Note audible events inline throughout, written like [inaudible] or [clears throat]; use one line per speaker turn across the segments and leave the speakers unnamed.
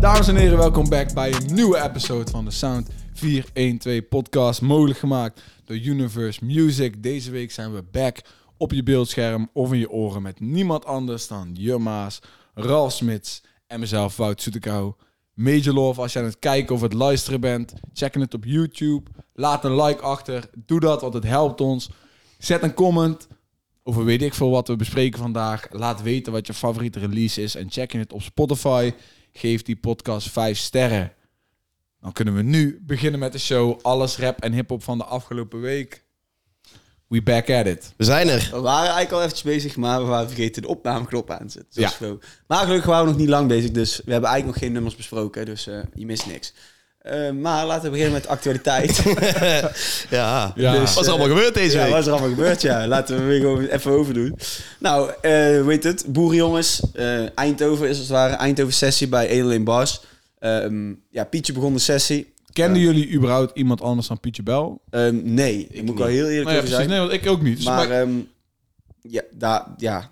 Dames en heren, welkom back bij een nieuwe episode van de Sound 412 podcast. Mogelijk gemaakt door Universe Music. Deze week zijn we back op je beeldscherm of in je oren met niemand anders dan Jumma's, Ralf Smits en mezelf, Wout Soetekou. Major love als je aan het kijken of het luisteren bent. Check het op YouTube. Laat een like achter. Doe dat, want het helpt ons. Zet een comment over weet ik veel wat we bespreken vandaag. Laat weten wat je favoriete release is en check je het op Spotify. Geef die podcast 5 sterren. Dan kunnen we nu beginnen met de show. Alles rap en hip-hop van de afgelopen week. We back at it.
We zijn er.
We waren eigenlijk al eventjes bezig, maar we waren vergeten de opnameknop aan te zetten. Dat
Ja.
is flow. Maar gelukkig waren we nog niet lang bezig, dus we hebben eigenlijk nog geen nummers besproken. Dus eh, je mist niks. Eh, maar laten we beginnen met de actualiteit.
ja.
Ja.
Dus, wat is er allemaal gebeurd deze
ja,
week?
wat is er allemaal gebeurd? Ja, laten we weer gewoon even overdoen. Nou, weet weet het, boerenjongens. eh, Eindhoven is als het ware. Eindhoven sessie bij Edelin Bas. Ehm, ja, Pietje begon de sessie.
Kenden jullie überhaupt iemand anders dan Pietje Bel?
Ehm, nee, ik moet ik wel heel eerlijk
Nou ja,
over
precies.
zijn.
Nee, want ik ook niet. Dus
maar
maar-
ehm, ja, daar, ja.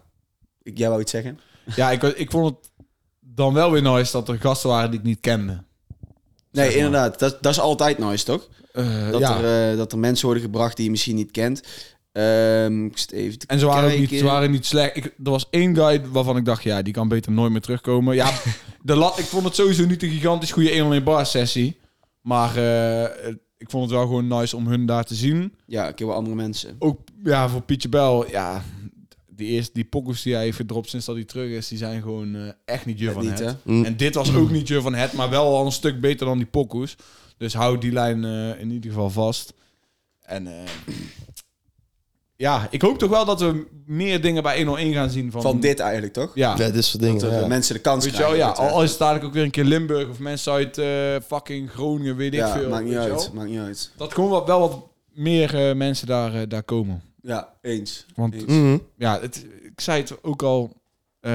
Ik- Jij wou iets zeggen?
ja, ik, ik vond het dan wel weer nice dat er gasten waren die ik niet kende.
Nee,
Zeg maar.
inderdaad. Dat, dat is altijd nice, toch?
Eh,
Dat,
ja.
er, eh, dat er mensen worden gebracht die je misschien niet kent. Ehm, ik zit even te
En ze waren, ook
kijken.
niet, ze waren niet slecht. Ik, er was één guy waarvan ik dacht, ja, die kan beter nooit meer terugkomen.
[laughs]
Ja, de lat, ik vond het sowieso niet een gigantisch goede 1 in bar sessie. Maar eh, ik vond het wel gewoon nice om hun daar te zien.
Ja, ik heb wel andere mensen.
Ook ja, voor Pietje Bel, ja, die, eerste, die pokkels die hij heeft gedropt sinds dat hij terug is, die zijn gewoon eh, echt niet je
Net
van
niet,
het.
hè?
Mm.
En dit was ook niet je van het, maar wel al een stuk beter dan die pokkels. Dus hou die lijn eh, in ieder geval vast. En eh, ja, ik hoop toch wel dat we meer dingen bij 101 gaan zien van,
Van dit eigenlijk, toch?
Ja,
Ja, dit soort dingen.
Dat eh,
ja.
mensen de kans
weet je wel,
krijgen.
ja.
dat, eh,
Al, al is het dadelijk ook weer een keer Limburg of mensen uit eh, fucking Groningen, weet ik
ja,
veel.
maakt niet
weet je
uit.
wel.
Maakt niet uit.
Dat gewoon wat, wel wat meer eh, mensen daar, eh, daar komen.
Ja, eens.
Want
Eens.
Mhm.
ja, het, ik zei het ook al eh,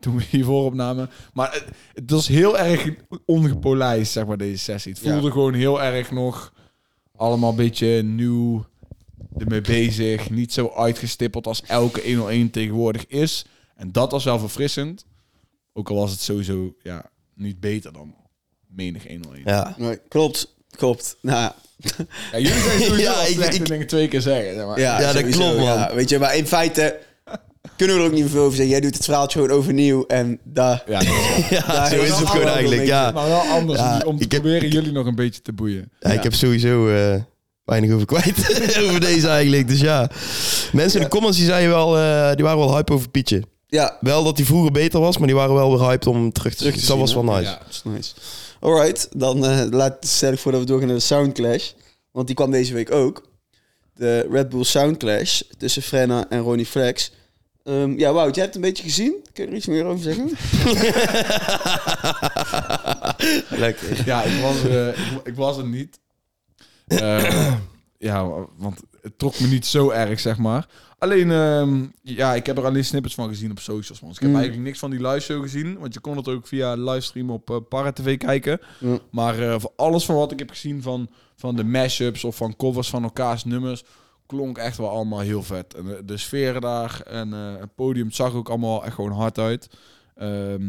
toen we hiervoor opnamen. Maar het, het was heel erg ongepolijst, zeg maar, deze sessie. Het
Ja.
voelde gewoon heel erg nog allemaal een beetje nieuw ermee bezig. Niet zo uitgestippeld als elke 101 tegenwoordig is. En dat was wel verfrissend. Ook al was het sowieso ja, niet beter dan menig 101. Ja.
Ja.
Nee, klopt. Klopt. [laughs] Nou, ja.
jullie
[laughs]
zijn sowieso
Ja,
al
ik-
slecht in
ik-
dingen twee keer zeggen. Zeg maar.
ja,
Ja, dat
sowieso,
klopt, man.
ja. Weet je, maar in feite kunnen we er ook niet veel over zeggen. Jij doet het verhaaltje gewoon overnieuw en daar...
Ja, dat is wel-
Ja, zo is
dat is
het
allemaal
gewoon eigenlijk.
een beetje-
Ja.
Maar wel anders
Ja,
om te
ik heb-
proberen jullie nog een beetje te boeien.
Ja, ik heb sowieso eh, weinig over kwijt [laughs] over deze eigenlijk. Dus ja, mensen in de comments die, zeiden wel, eh, die waren wel hype over Pietje.
Ja,
Wel dat hij vroeger beter was, maar die waren wel weer hyped om hem terug te,
Terug te
zien.
zien,
Dat was wel
hè?
nice.
Ja.
Dat is nice. Alright, dan eh, laat, stel ik voor dat we doorgaan naar de Soundclash. Want die kwam deze week ook. De Red Bull Soundclash tussen Frenna en Ronnie Flex. Ehm, ja, Wout, jij hebt het een beetje gezien. Kun je er iets meer over zeggen?
[laughs]
Lekker.
Ja, ik was, eh, ik, ik was er niet. Eh, [clears throat] ja, want het trok me niet zo erg, zeg maar. Alleen, ehm, ja, ik heb er alleen snippets van gezien op socials, man. Dus ik heb
Mm.
eigenlijk niks van die live show gezien. Want je kon het ook via livestream op eh, Para TV kijken.
Mm.
Maar eh, voor alles van wat ik heb gezien van, van de mashups of van covers van elkaars nummers... klonk echt wel allemaal heel vet. En, eh, de sfeer daar en eh, het podium het zag ook allemaal echt gewoon hard uit. Ehm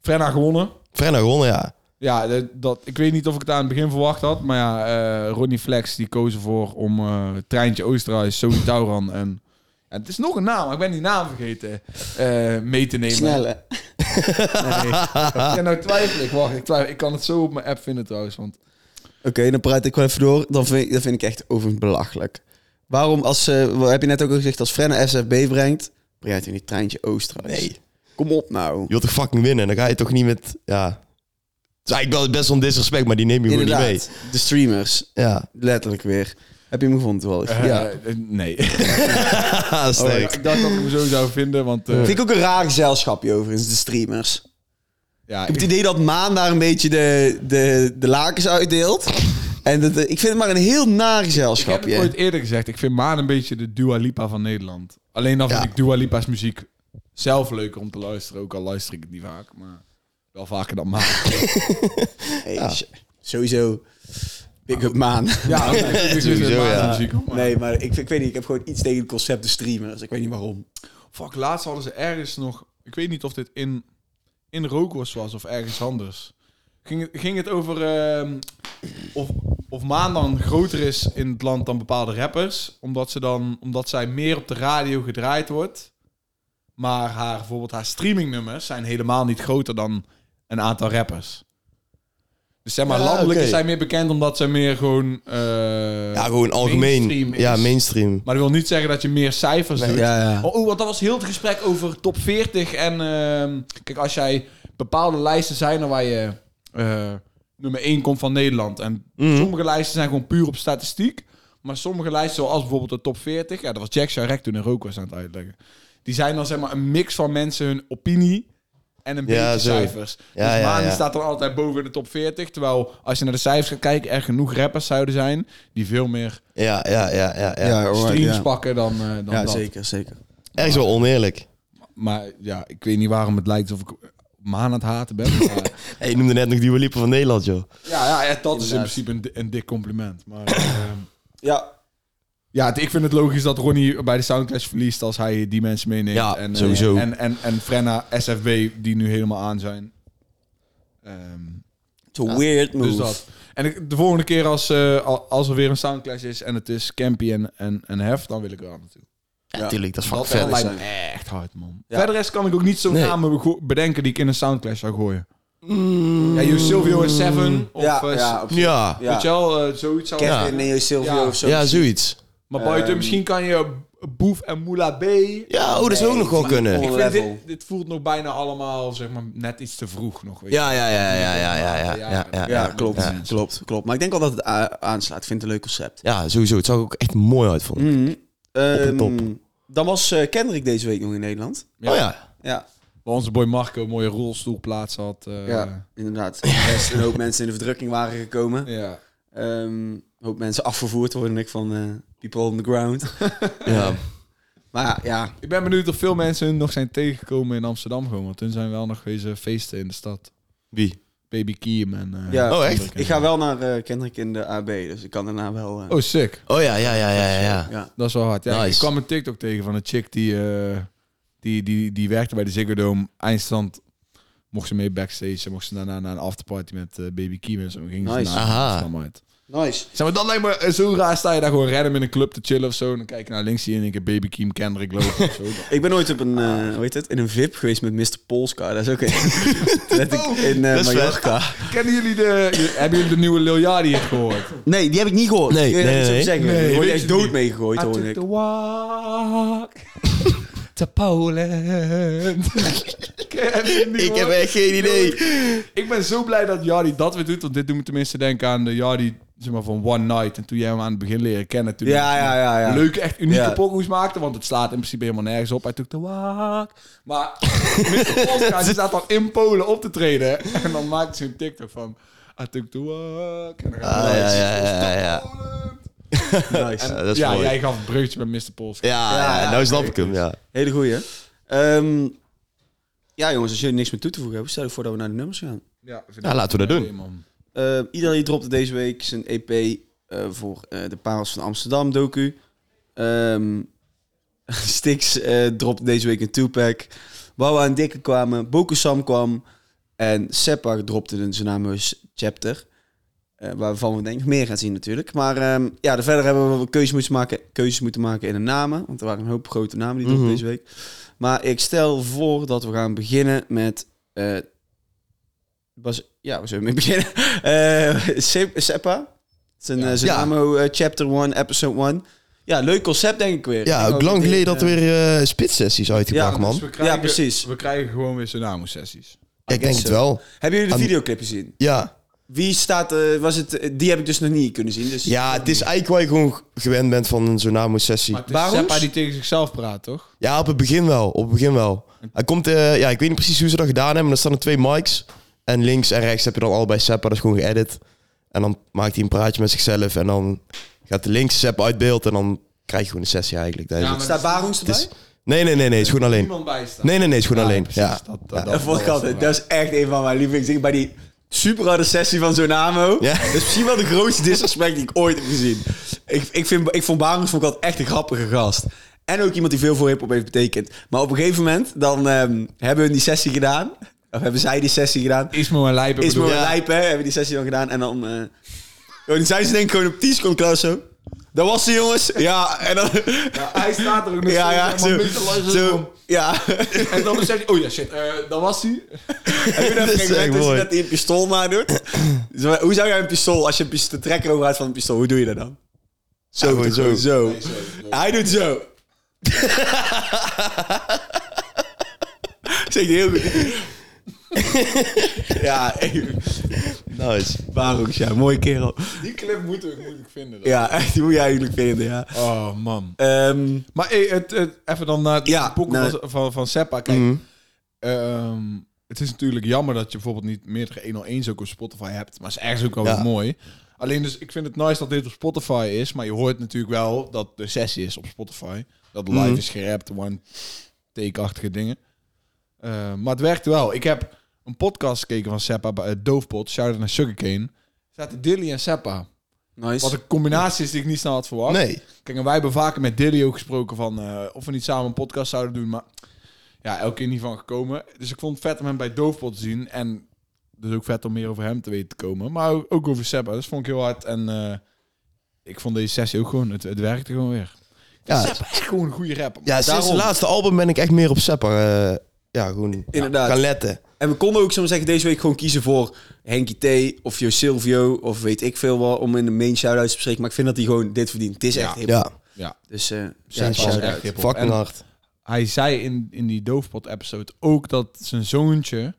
Frenna gewonnen.
Frenna gewonnen, ja.
Ja, de- dat, ik weet niet of ik het aan het begin verwacht had. Maar ja, eh, Ronnie Flex die koos ervoor om eh, Treintje Oosterhuis, Sony Tauran en... ja, het is nog een naam, maar ik ben die naam vergeten eh, mee te nemen.
Snel, hè?
[laughs] Nee. ja, nou twijfel ik. Wacht, ik twijfel. Ik kan het zo op mijn app vinden trouwens. Want
Oké, dan praat ik wel even door. Dan vind, dat vind ik echt overigens belachelijk. Waarom, als, eh, wat heb je net ook al gezegd, als Frenna SFB brengt... brengt hij niet treintje Oosterhuis.
Nee.
Kom op nou.
Je wilt toch fucking winnen? Dan ga je toch niet met... Ja. Het is eigenlijk wel best wel een disrespect, maar die neem je gewoon niet mee.
Inderdaad, de streamers.
Ja.
Letterlijk weer. Heb je hem gevonden toevallig? ja.
ja, eh, nee.
Sterk.
ik dacht dat ik hem zo zou vinden, want... eh,
Vind ik ook een raar gezelschapje overigens, de streamers.
ja,
Ik heb het idee dat Maan daar een beetje de, de, de lakens uitdeelt. En dat, eh, ik vind het maar een heel naar
ik heb het
gezelschapje.
ooit eerder gezegd. Ik vind Maan een beetje de Dua Lipa van Nederland. Alleen dan vind
Ja.
ik Dua Lipa's muziek zelf leuker om te luisteren. Ook al luister ik het niet vaak, maar wel vaker dan Maan.
Jeetje. Sowieso. Big up [laughs] Maan.
Ja,
[laughs]
ik
Sowieso, ja.
Nee.
Nee, maar ik, ik weet niet. Ik heb gewoon iets tegen het concept de streamers. Ik weet niet waarom.
Fuck, laatst hadden ze ergens nog... Ik weet niet of dit in in Rookworst was of ergens anders. Ging, het- ging het over ehm, of, of Maan dan groter is in het land dan bepaalde rappers, omdat, ze dan, omdat zij meer op de radio gedraaid wordt. Maar haar, bijvoorbeeld haar streamingnummers zijn helemaal niet groter dan een aantal rappers. Dus zeg maar,
Ja,
landelijk
oké.
is zij meer bekend omdat zij meer gewoon... eh,
Ja, gewoon algemeen.
mainstream is.
ja, mainstream.
maar dat wil niet zeggen dat je meer cijfers doet.
Ja, ja.
Oh, oh, want dat was heel het gesprek over top 40. En ehm, kijk, als jij bepaalde lijsten zijn er waar je eh, nummer 1 komt van Nederland. En
Mhm.
sommige lijsten zijn gewoon puur op statistiek. Maar sommige lijsten, zoals bijvoorbeeld de top 40, ja, dat was Jack Charek toen in rook was aan het uitleggen. Die zijn dan zeg maar een mix van mensen hun opinie en een
Ja,
beetje
zo.
cijfers.
Ja,
dus
ja,
Maan die
ja.
staat dan altijd boven de top 40. Terwijl als je naar de cijfers gaat kijken, er genoeg rappers zouden zijn die veel meer eh,
Ja, ja, ja, ja. ja.
alright,
streams
ja.
pakken dan, eh, dan
Ja,
dat.
zeker, zeker.
Ergens wel oneerlijk.
Maar ja, ik weet niet waarom het lijkt of ik maan aan het haten ben. maar-
Hey, je noemde net nog die liepen van Nederland, joh.
[laughs] ja, ja, ja, dat is in principe een, di- een dik compliment. Maar ehm,
Ja,
[laughs] ja, het- ik vind het logisch dat Ronnie bij de Soundclash verliest als hij die mensen meeneemt.
Ja,
en, eh,
sowieso.
En, en, en Frenna, SFB, die nu helemaal aan zijn. Ehm,
it's a weird move.
dus dat. En ik, de volgende keer als, eh, al- als er weer een Soundclash is en het is Campy en, en, en Hef, dan wil ik er aan naartoe.
Ja, tuurlijk, dat is
Dat
fucking vet.
lijkt me echt hard, man.
Ja.
Verder rest kan ik ook niet zo'n
Nee.
namen go- bedenken die ik in een Soundclash zou gooien. Ja, Yo Silvio en Seven. Of,
Mm. Ja,
eh,
ja, op zich.
Ja,
Weet je
ja.
wel, eh, zoiets zou
Ja.
Kevin, Neo Silvio
Ja.
of zo.
ja, zoiets.
Maar buiten,
Ehm.
misschien kan je Boef en Moula B. Ik
Ja, oh, dat zou ook
Nee,
nog wel
die-
kunnen.
die-
vind
level.
dit, dit voelt nog bijna allemaal, zeg maar, net iets te vroeg nog. Weet je.
Ja, ja, ja, ja, ja, ja, ja, ja, ja,
Ja,
ja.
klopt, klopt, klopt. Maar ik denk al dat het a- aanslaat. Ik vind het een leuk concept.
Ja, sowieso. Het zag er ook echt mooi uit, vond ik.
Mhm.
en
Ehm,
top.
Dan was eh, Kendrick deze week nog in Nederland.
Ja.
Oh ja.
Ja,
Waar onze boy Marco een mooie rolstoelplaats had. eh,
ja. inderdaad. Best een hoop mensen in de verdrukking waren gekomen.
ja.
Ehm, een hoop mensen afgevoerd, hoorde ik, van eh, people on the
[laughs]
ground.
Ja.
Maar ja,
Ik ben benieuwd of veel mensen hun nog zijn tegengekomen in Amsterdam gewoon. Want hun zijn wel nog deze feesten in de stad.
Wie?
Baby Kiem en... eh,
Ja.
Oh, echt?
Kendrick.
ik ga wel naar eh, Kendrick in de AB, dus ik kan daarna wel... eh,
Oh, sick.
Oh ja, ja, ja, ja, ja, ja.
ja.
Dat is wel hard. Ja,
Nice.
Ik kwam een TikTok tegen van een chick die, eh, die, die, die werkte bij de Ziggo Dome. Eindstand mocht ze mee backstage en mocht ze daarna naar een afterparty met eh, Baby Kim en zo. Ging ze
Nice.
naar
Aha.
Amsterdam uit.
Nice.
Zeg maar, dat lijkt me eh, zo raar. Sta je daar gewoon random in een club te chillen of zo. En dan kijk je naar links zie je in één keer Baby Kim, Kendrick lopen [laughs] of zo.
Ik ben ooit op een, eh, hoe heet het, in een VIP geweest met Mr. Polska. Dat is ook een...
[laughs]
Let ik in eh
Oh, dat is
Mallorca.
Kennen jullie de... je- hebben jullie de nieuwe Lil Yachty hier gehoord?
Nee, die heb ik niet gehoord.
Nee,
Ik wil je
nee,
iets over
nee.
zeggen.
Nee,
Daar word
weet
je
je
echt dood
niet.
mee gegooid,
I
hoor
took
ik.
the [laughs] walk to Poland. Ken je die,
Ik
man?
heb echt geen idee.
Ik ben zo blij dat Jardi dat weer doet. Want dit doet me tenminste denken aan de Jardi zeg maar, van One Night. En toen jij hem aan het begin leren kennen. Toen
Ja, ja, ja, ja.
hij Leuke, echt unieke
Ja.
pokoes maakte. Want het slaat in principe helemaal nergens op. Hij took the walk. Maar
[laughs]
Mr. Polska die staat dan in Polen op te treden. En dan maakt ze een TikTok van... I took the walk. En dan gaat hij
Ah, ja,
naar
ja, ja, ja, ja.
Polen.
Nice.
Ja, dat is
ja,
mooi.
jij gaf het breukje met Mr. Polska.
Ja, ja,
Ja,
nou snap ik hem, ja.
Hele goeie. Ehm, ja, jongens, als jullie niks meer toe te voegen hebben, stel ik voor dat we naar de nummers gaan.
Ja, vind
Ja,
ik-
laten we dat
Nee,
doen.
man.
Eh, iedereen dropte deze week zijn EP eh, voor eh, de Parels van Amsterdam docu. Ehm [laughs] Stix eh, dropte deze week een two-pack. Wawa en Dikke kwamen. Bokusam kwam. En Seppa dropte een Tsunamu's chapter. Eh, waarvan we denk ik nog meer gaan zien natuurlijk. Maar ehm, ja, daar verder hebben we keuzes moeten, maken, keuzes moeten maken in de namen. Want er waren een hoop grote namen die dropten
Mhm.
deze week. Maar ik stel voor dat we gaan beginnen met... eh, was, ja, we zullen mee beginnen. [laughs] Eh, Sep- Seppa. Zijn
Ja.
eh, Tsunamo eh, chapter 1, episode 1. Ja, leuk concept denk ik weer.
Ja,
Ik
ook
denk
lang geleden dat
eh,
er weer eh spitsessies uitgebracht,
ja,
Dus
man.
we krijgen,
Ja, precies.
We krijgen gewoon weer Tsunamo-sessies.
Ik denk
guess
het
so.
wel.
Hebben jullie de
Aan-
videoclip gezien?
Ja.
Wie staat, eh, was het, eh, die heb ik dus nog niet kunnen zien. Dus
Ja, het is eigenlijk waar je gewoon gewend bent van een Zonamo-sessie.
Maar het is
Waarom?
Seppa die tegen zichzelf praat, toch?
Ja, op het begin wel. Op het begin wel. Hij komt, eh, ja, ik weet niet precies hoe ze dat gedaan hebben, maar er staan er twee mics. En links en rechts heb je dan allebei Seppa, dat is gewoon geëdit. En dan maakt hij een praatje met zichzelf en dan gaat de links Sepp uit beeld en dan krijg je gewoon een sessie eigenlijk. Dat is
Ja,
het.
maar
staat Baroens
Het
erbij?
is- nee, nee, nee, nee, het is gewoon alleen.
Niemand bij staat.
Nee, nee, nee, het is gewoon
Ja,
alleen.
precies,
Ja.
dat- dat-
dat vond ik altijd, dat is echt een van mijn lievelingsdingen. Bij die superharde sessie van Zonamo.
Ja.
Dat is misschien wel de grootste disrespect die ik ooit heb gezien. Ik, ik, vind, ik vond Baroens vond ik altijd echt een grappige gast. En ook iemand die veel voor hiphop heeft betekend. Maar op een gegeven moment, dan ehm, hebben we die sessie gedaan. Of hebben zij die sessie gedaan?
Ismo en Lijpen
Is
bedoel
maar
ik.
Ja.
lijp, hè? Hebben die sessie dan gedaan. En dan... eh joh, dan zijn ze denk ik gewoon op 10 seconden klaar zo. Dat was ze, jongens. Ja, en dan...
Ja, hij staat er ook nog
Ja, ja,
steeds helemaal
zo.
mee te luisteren.
zo ja.
En dan besef je, oh ja, shit, eh dat was
[laughs]
hij.
[laughs]
En toen
Dat
heb
is echt
ik gemerkt dat hij
mooi.
dat in een pistool
[clears throat]
nadoet. Dus maar hoe zou jij een pistool, als je een pistool, de trekker overhoudt van een pistool, hoe doe je dat dan? Zo,
gewoon
toch?
zo.
zo. Hij doet
[laughs]
zo. Zeg heel
[laughs]
goed. ja, even.
Nice.
Waarom, ja, mooie kerel.
Die clip moeten we moeilijk vinden. dan.
Ja, echt, die moet je eigenlijk vinden, ja.
Oh, man.
Ehm,
Maar hey, het, het- even dan naar het
Ja,
boek
nee.
van, van, van Seppa. Kijk, ehm, het is natuurlijk jammer dat je bijvoorbeeld niet meerdere 101's ook op Spotify hebt. Maar is ergens ook wel
Ja.
weer mooi. Alleen dus, ik vind het nice dat dit op Spotify is. Maar je hoort natuurlijk wel dat de sessie is op Spotify. Dat live is gerapt, one-take-achtige dingen. Eh, maar het werkt wel. Ik heb een podcast gekeken van Seppa, bij- eh, Doofpot, shout-out naar Sugarcane. Zaten Dilly en Seppa. Wat
nice.
een combinatie is die ik niet snel had verwacht.
Nee.
Kijk, en wij hebben vaker met Dilly ook gesproken van eh, of we niet samen een podcast zouden doen, maar ja, elke keer niet van gekomen. Dus ik vond het vet om hem bij Doofpot te zien en dus ook vet om meer over hem te weten te komen, maar ook- ook over Seppa. Dus vond ik heel hard en eh, ik vond deze sessie ook gewoon, het, het werkte gewoon weer. Ja,
Ja.
Seppa is echt gewoon een goede rapper.
Ja, sinds
Daarom.
het laatste album ben ik echt meer op Seppa. eh, ja, gewoon
Inderdaad.
gaan letten.
En we konden ook, zomaar zeggen, deze week gewoon kiezen voor Henkie T of Jo Silvio of weet ik veel wat, om in de main shout-outs te bespreken. Maar ik vind dat hij gewoon dit verdient. Het is
Ja.
echt hip.
Ja,
Ja,
Dus eh
Zijn
ja,
shout-out.
shout-out.
echt hiphop.
fucking
En-
hard.
hij zei in, in die Doofpot-episode ook dat zijn zoontje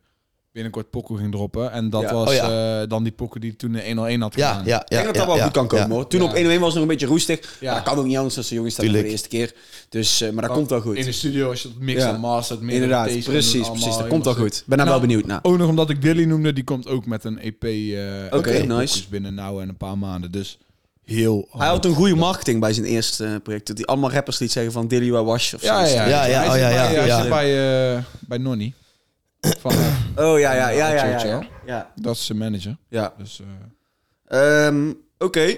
binnenkort pokoe ging droppen en dat
Ja.
was
Oh ja.
eh, dan die pokoe die hij toen in 101 had
Ja,
gedaan.
ja,
Ik
ja.
denk dat dat wel
ja,
goed kan komen
ja.
hoor. Toen op 1-1 was het nog een beetje roestig.
Ja.
Maar dat kan ook niet anders als de jongens staan voor de
Tuurlijk.
eerste keer. Dus, eh, maar dat komt wel
Oh, In de
goed.
studio als je dat mix
Ja.
en mastert. meer
Inderdaad,
rotation en
precies,
allemaal
precies. Dat
helemaal
komt wel
zo.
goed. Ben daar wel
Nou,
benieuwd naar.
Ook nog omdat ik Dilly noemde, die komt ook met een EP. eh
Oké,
met
nice.
pokus Binnen nou en een paar maanden. Dus heel
Hij
hard.
had een goede marketing bij zijn eerste eh, project. Dat hij allemaal rappers liet zeggen van Dilly, waar was je? Of
Ja,
zoiets.
ja,
Ja, ja,
Hij
oh,
zit
ja, ja,
bij, hij
ja.
zit bij, eh, bij Nonny. Van,
[coughs]
eh,
Oh ja, ja, ja,
Ja,
ja. ja,
chill,
ja,
chill.
ja.
dat is zijn manager.
ja.
Dus, eh,
Ehm, Oké,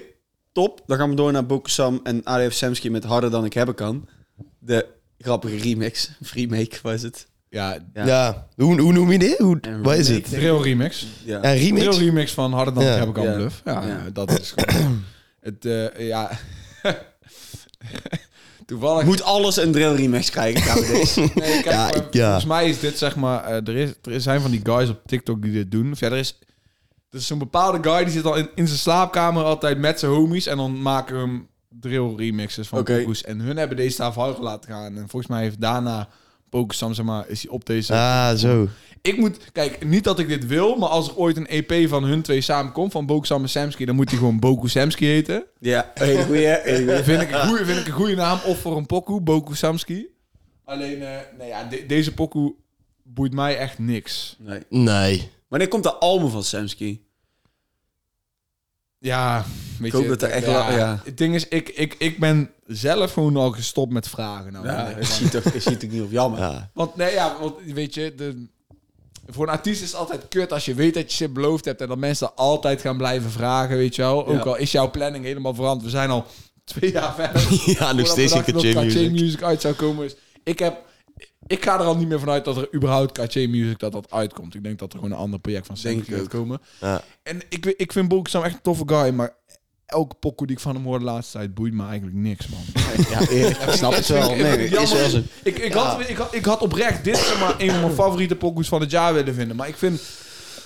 top. Dan gaan we door naar Bokusam en ADF Samsky met Harder Dan Ik Hebben Kan. De grappige remix. [laughs] Of remake was het.
ja,
Ja.
Ja, Hoe, hoe noem je dit? Hoe,
Een
wat is
remake.
het?
drill remix.
Ja.
Ja, remix?
Drill remix van Harder dan
Ja.
ik heb ik al
Ja.
bluff. Ja,
Ja.
dat is
[coughs]
gewoon... het, eh, ja... [laughs] Toevallig
Moet alles een drill remix krijgen. gaan we [laughs] deze.
Nee, kijk,
[laughs] Ja,
maar
ik- ja.
volgens mij is dit zeg maar... eh, er, is, er zijn van die guys op TikTok die dit doen. Of ja, er is... Er is zo'n bepaalde guy die zit al in, in zijn slaapkamer altijd met zijn homies. En dan maken we hem drill remixes van
Oké.
pokoes. En hun hebben deze daar viral laten gaan. En volgens mij heeft daarna Pokus Sam, zeg maar, is hij op deze...
Ah, zo.
Ik moet... Kijk, niet dat ik dit wil, maar als er ooit een EP van hun twee samen komt, van Bokus Sam en Samsky, dan moet hij gewoon Boku Samsky heten.
ja, hele goeie. hè? Hele goeie.
Vind ik, een goeie, vind ik een goede naam. Of voor een pokoe, Boku Samski. Alleen, eh, nee, ja, de- deze pokoe boeit mij echt niks.
Nee.
Nee.
Wanneer komt de album van Samsky?
Ja, weet
hoop
je,
dat er echt
ja,
la- ja.
Het ding is, ik, ik, ik ben zelf gewoon al gestopt met vragen. Nou,
Ja,
want,
dat ziet toch, dat ziet toch niet op jammer.
Ja.
want, nee, ja, want weet je, de, voor een artiest is het altijd kut als je weet dat je shit beloofd hebt en dat mensen altijd gaan blijven vragen, weet je wel. Ook
Ja.
al is jouw planning helemaal veranderd. We zijn al twee jaar verder.
Ja, nog steeds geen
Voordat we
Katje
dachten dat
music.
Music uit zou komen. Is, ik, heb, ik ga er al niet meer vanuit dat er überhaupt Katje Music dat dat uitkomt. Ik denk dat er gewoon een ander project van
Denk
Sam
ik
gaat
ook.
komen.
Ja.
En ik, we- ik vind Bolksam echt een toffe guy, maar elke pokoe die ik van hem hoor de laatste tijd boeit me eigenlijk niks,
[laughs]
man.
Ja, eerlijk, ik snap het wel. Oh, Nee,
Jammer.
is wel zo.
Ik, ik, had, ik, had, ik had oprecht dit zeg maar een van mijn favoriete pokoes van het jaar willen vinden, maar ik vind...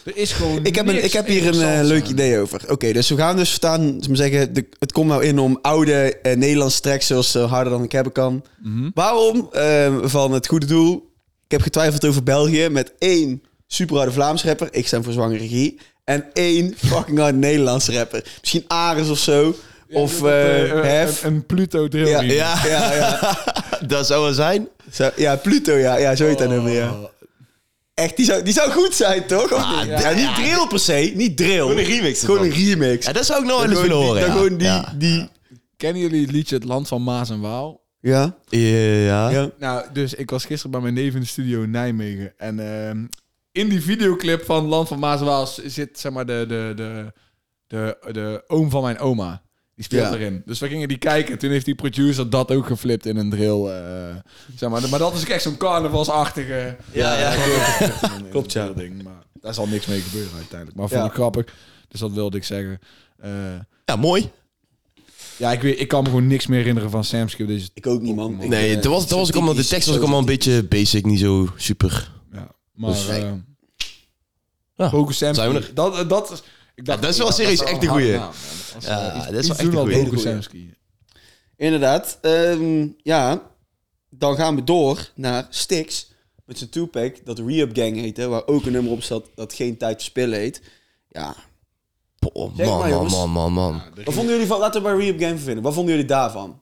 Er is gewoon
Ik heb, een,
niks
ik heb hier een eh,
interessants
leuk
aan.
idee over. Oké, dus we gaan dus vertaan, zullen we zeggen, de, het komt nou in om oude eh, Nederlandse tracks zoals eh, Harder dan ik hebben kan. Waarom eh, van het goede doel? Ik heb getwijfeld over België met één superharde Vlaams rapper, ik stem voor zwangere regie, en één fucking harde Nederlandse rapper. Misschien Ares of zo, of
Dat, eh,
eh,
eh,
Hef.
een, een Pluto drill
Ja,
remix.
ja, ja, ja.
[laughs] Dat zou wel zijn.
Zo- ja, Pluto, ja, ja zo heet dat nummer, ja. Echt, die zou, die zou goed zijn, toch? Of niet? ja, niet drill per se, niet drill. Gewoon
een remix
Gewoon een
ervan.
remix.
Ja, dat zou ik nou wel eens
Gewoon
willen
die-
horen.
dan
ja.
gewoon die-
Ja.
die-
Kennen jullie het liedje Het Land van Maas en Waal?
Ja.
Ja.
Ja.
Nou, dus ik was gisteren bij mijn neef in de studio in Nijmegen. En ehm, in die videoclip van Land van Maas en Waal zit zeg maar de, de, de, de, de oom van mijn oma. Die speelt
Ja.
erin. Dus we gingen die kijken. Toen heeft die producer dat ook geflipt in een drill. eh, zeg maar. maar dat is ook echt zo'n carnavalsachtige...
Ja, ja,
Klopt, ja. Ding, maar daar zal niks mee gebeuren uiteindelijk. Maar vond
Ja.
ik grappig. Dus dat wilde ik zeggen. Eh,
Ja, mooi.
ja, ik, weet, ik kan me gewoon niks meer herinneren van Sam's Club. Dus
Ik ook niet, man. Ik,
Nee,
eh,
dat was, dat was ook allemaal, de
typisch,
tekst was ook
zo
allemaal een beetje basic, niet zo super.
Ja, maar
Dus-
eh,
Ja,
Focus Sam's
zijn we
Club. Dat, eh, dat, is- ik
Ja, dat is wel
ik dacht,
serieus
dat
echt een
harde
goeie.
naam, man. Als,
Ja,
eh, iets-
dat is wel
iets
echt
doen
een
al
goeie.
Focus
Hele
Sam's Club.
Inderdaad. Ehm, ja, dan gaan we door naar Styx met zijn two-pack, dat Re-Up Gang heette, waar ook een nummer op zat dat geen tijd te spillen heet. Ja.
Boah,
Zeg maar,
Oh, man, man,
jongens.
man, man, man.
Wat vonden jullie van, laten we bij Re-Up Gang vinden, wat vonden jullie daarvan?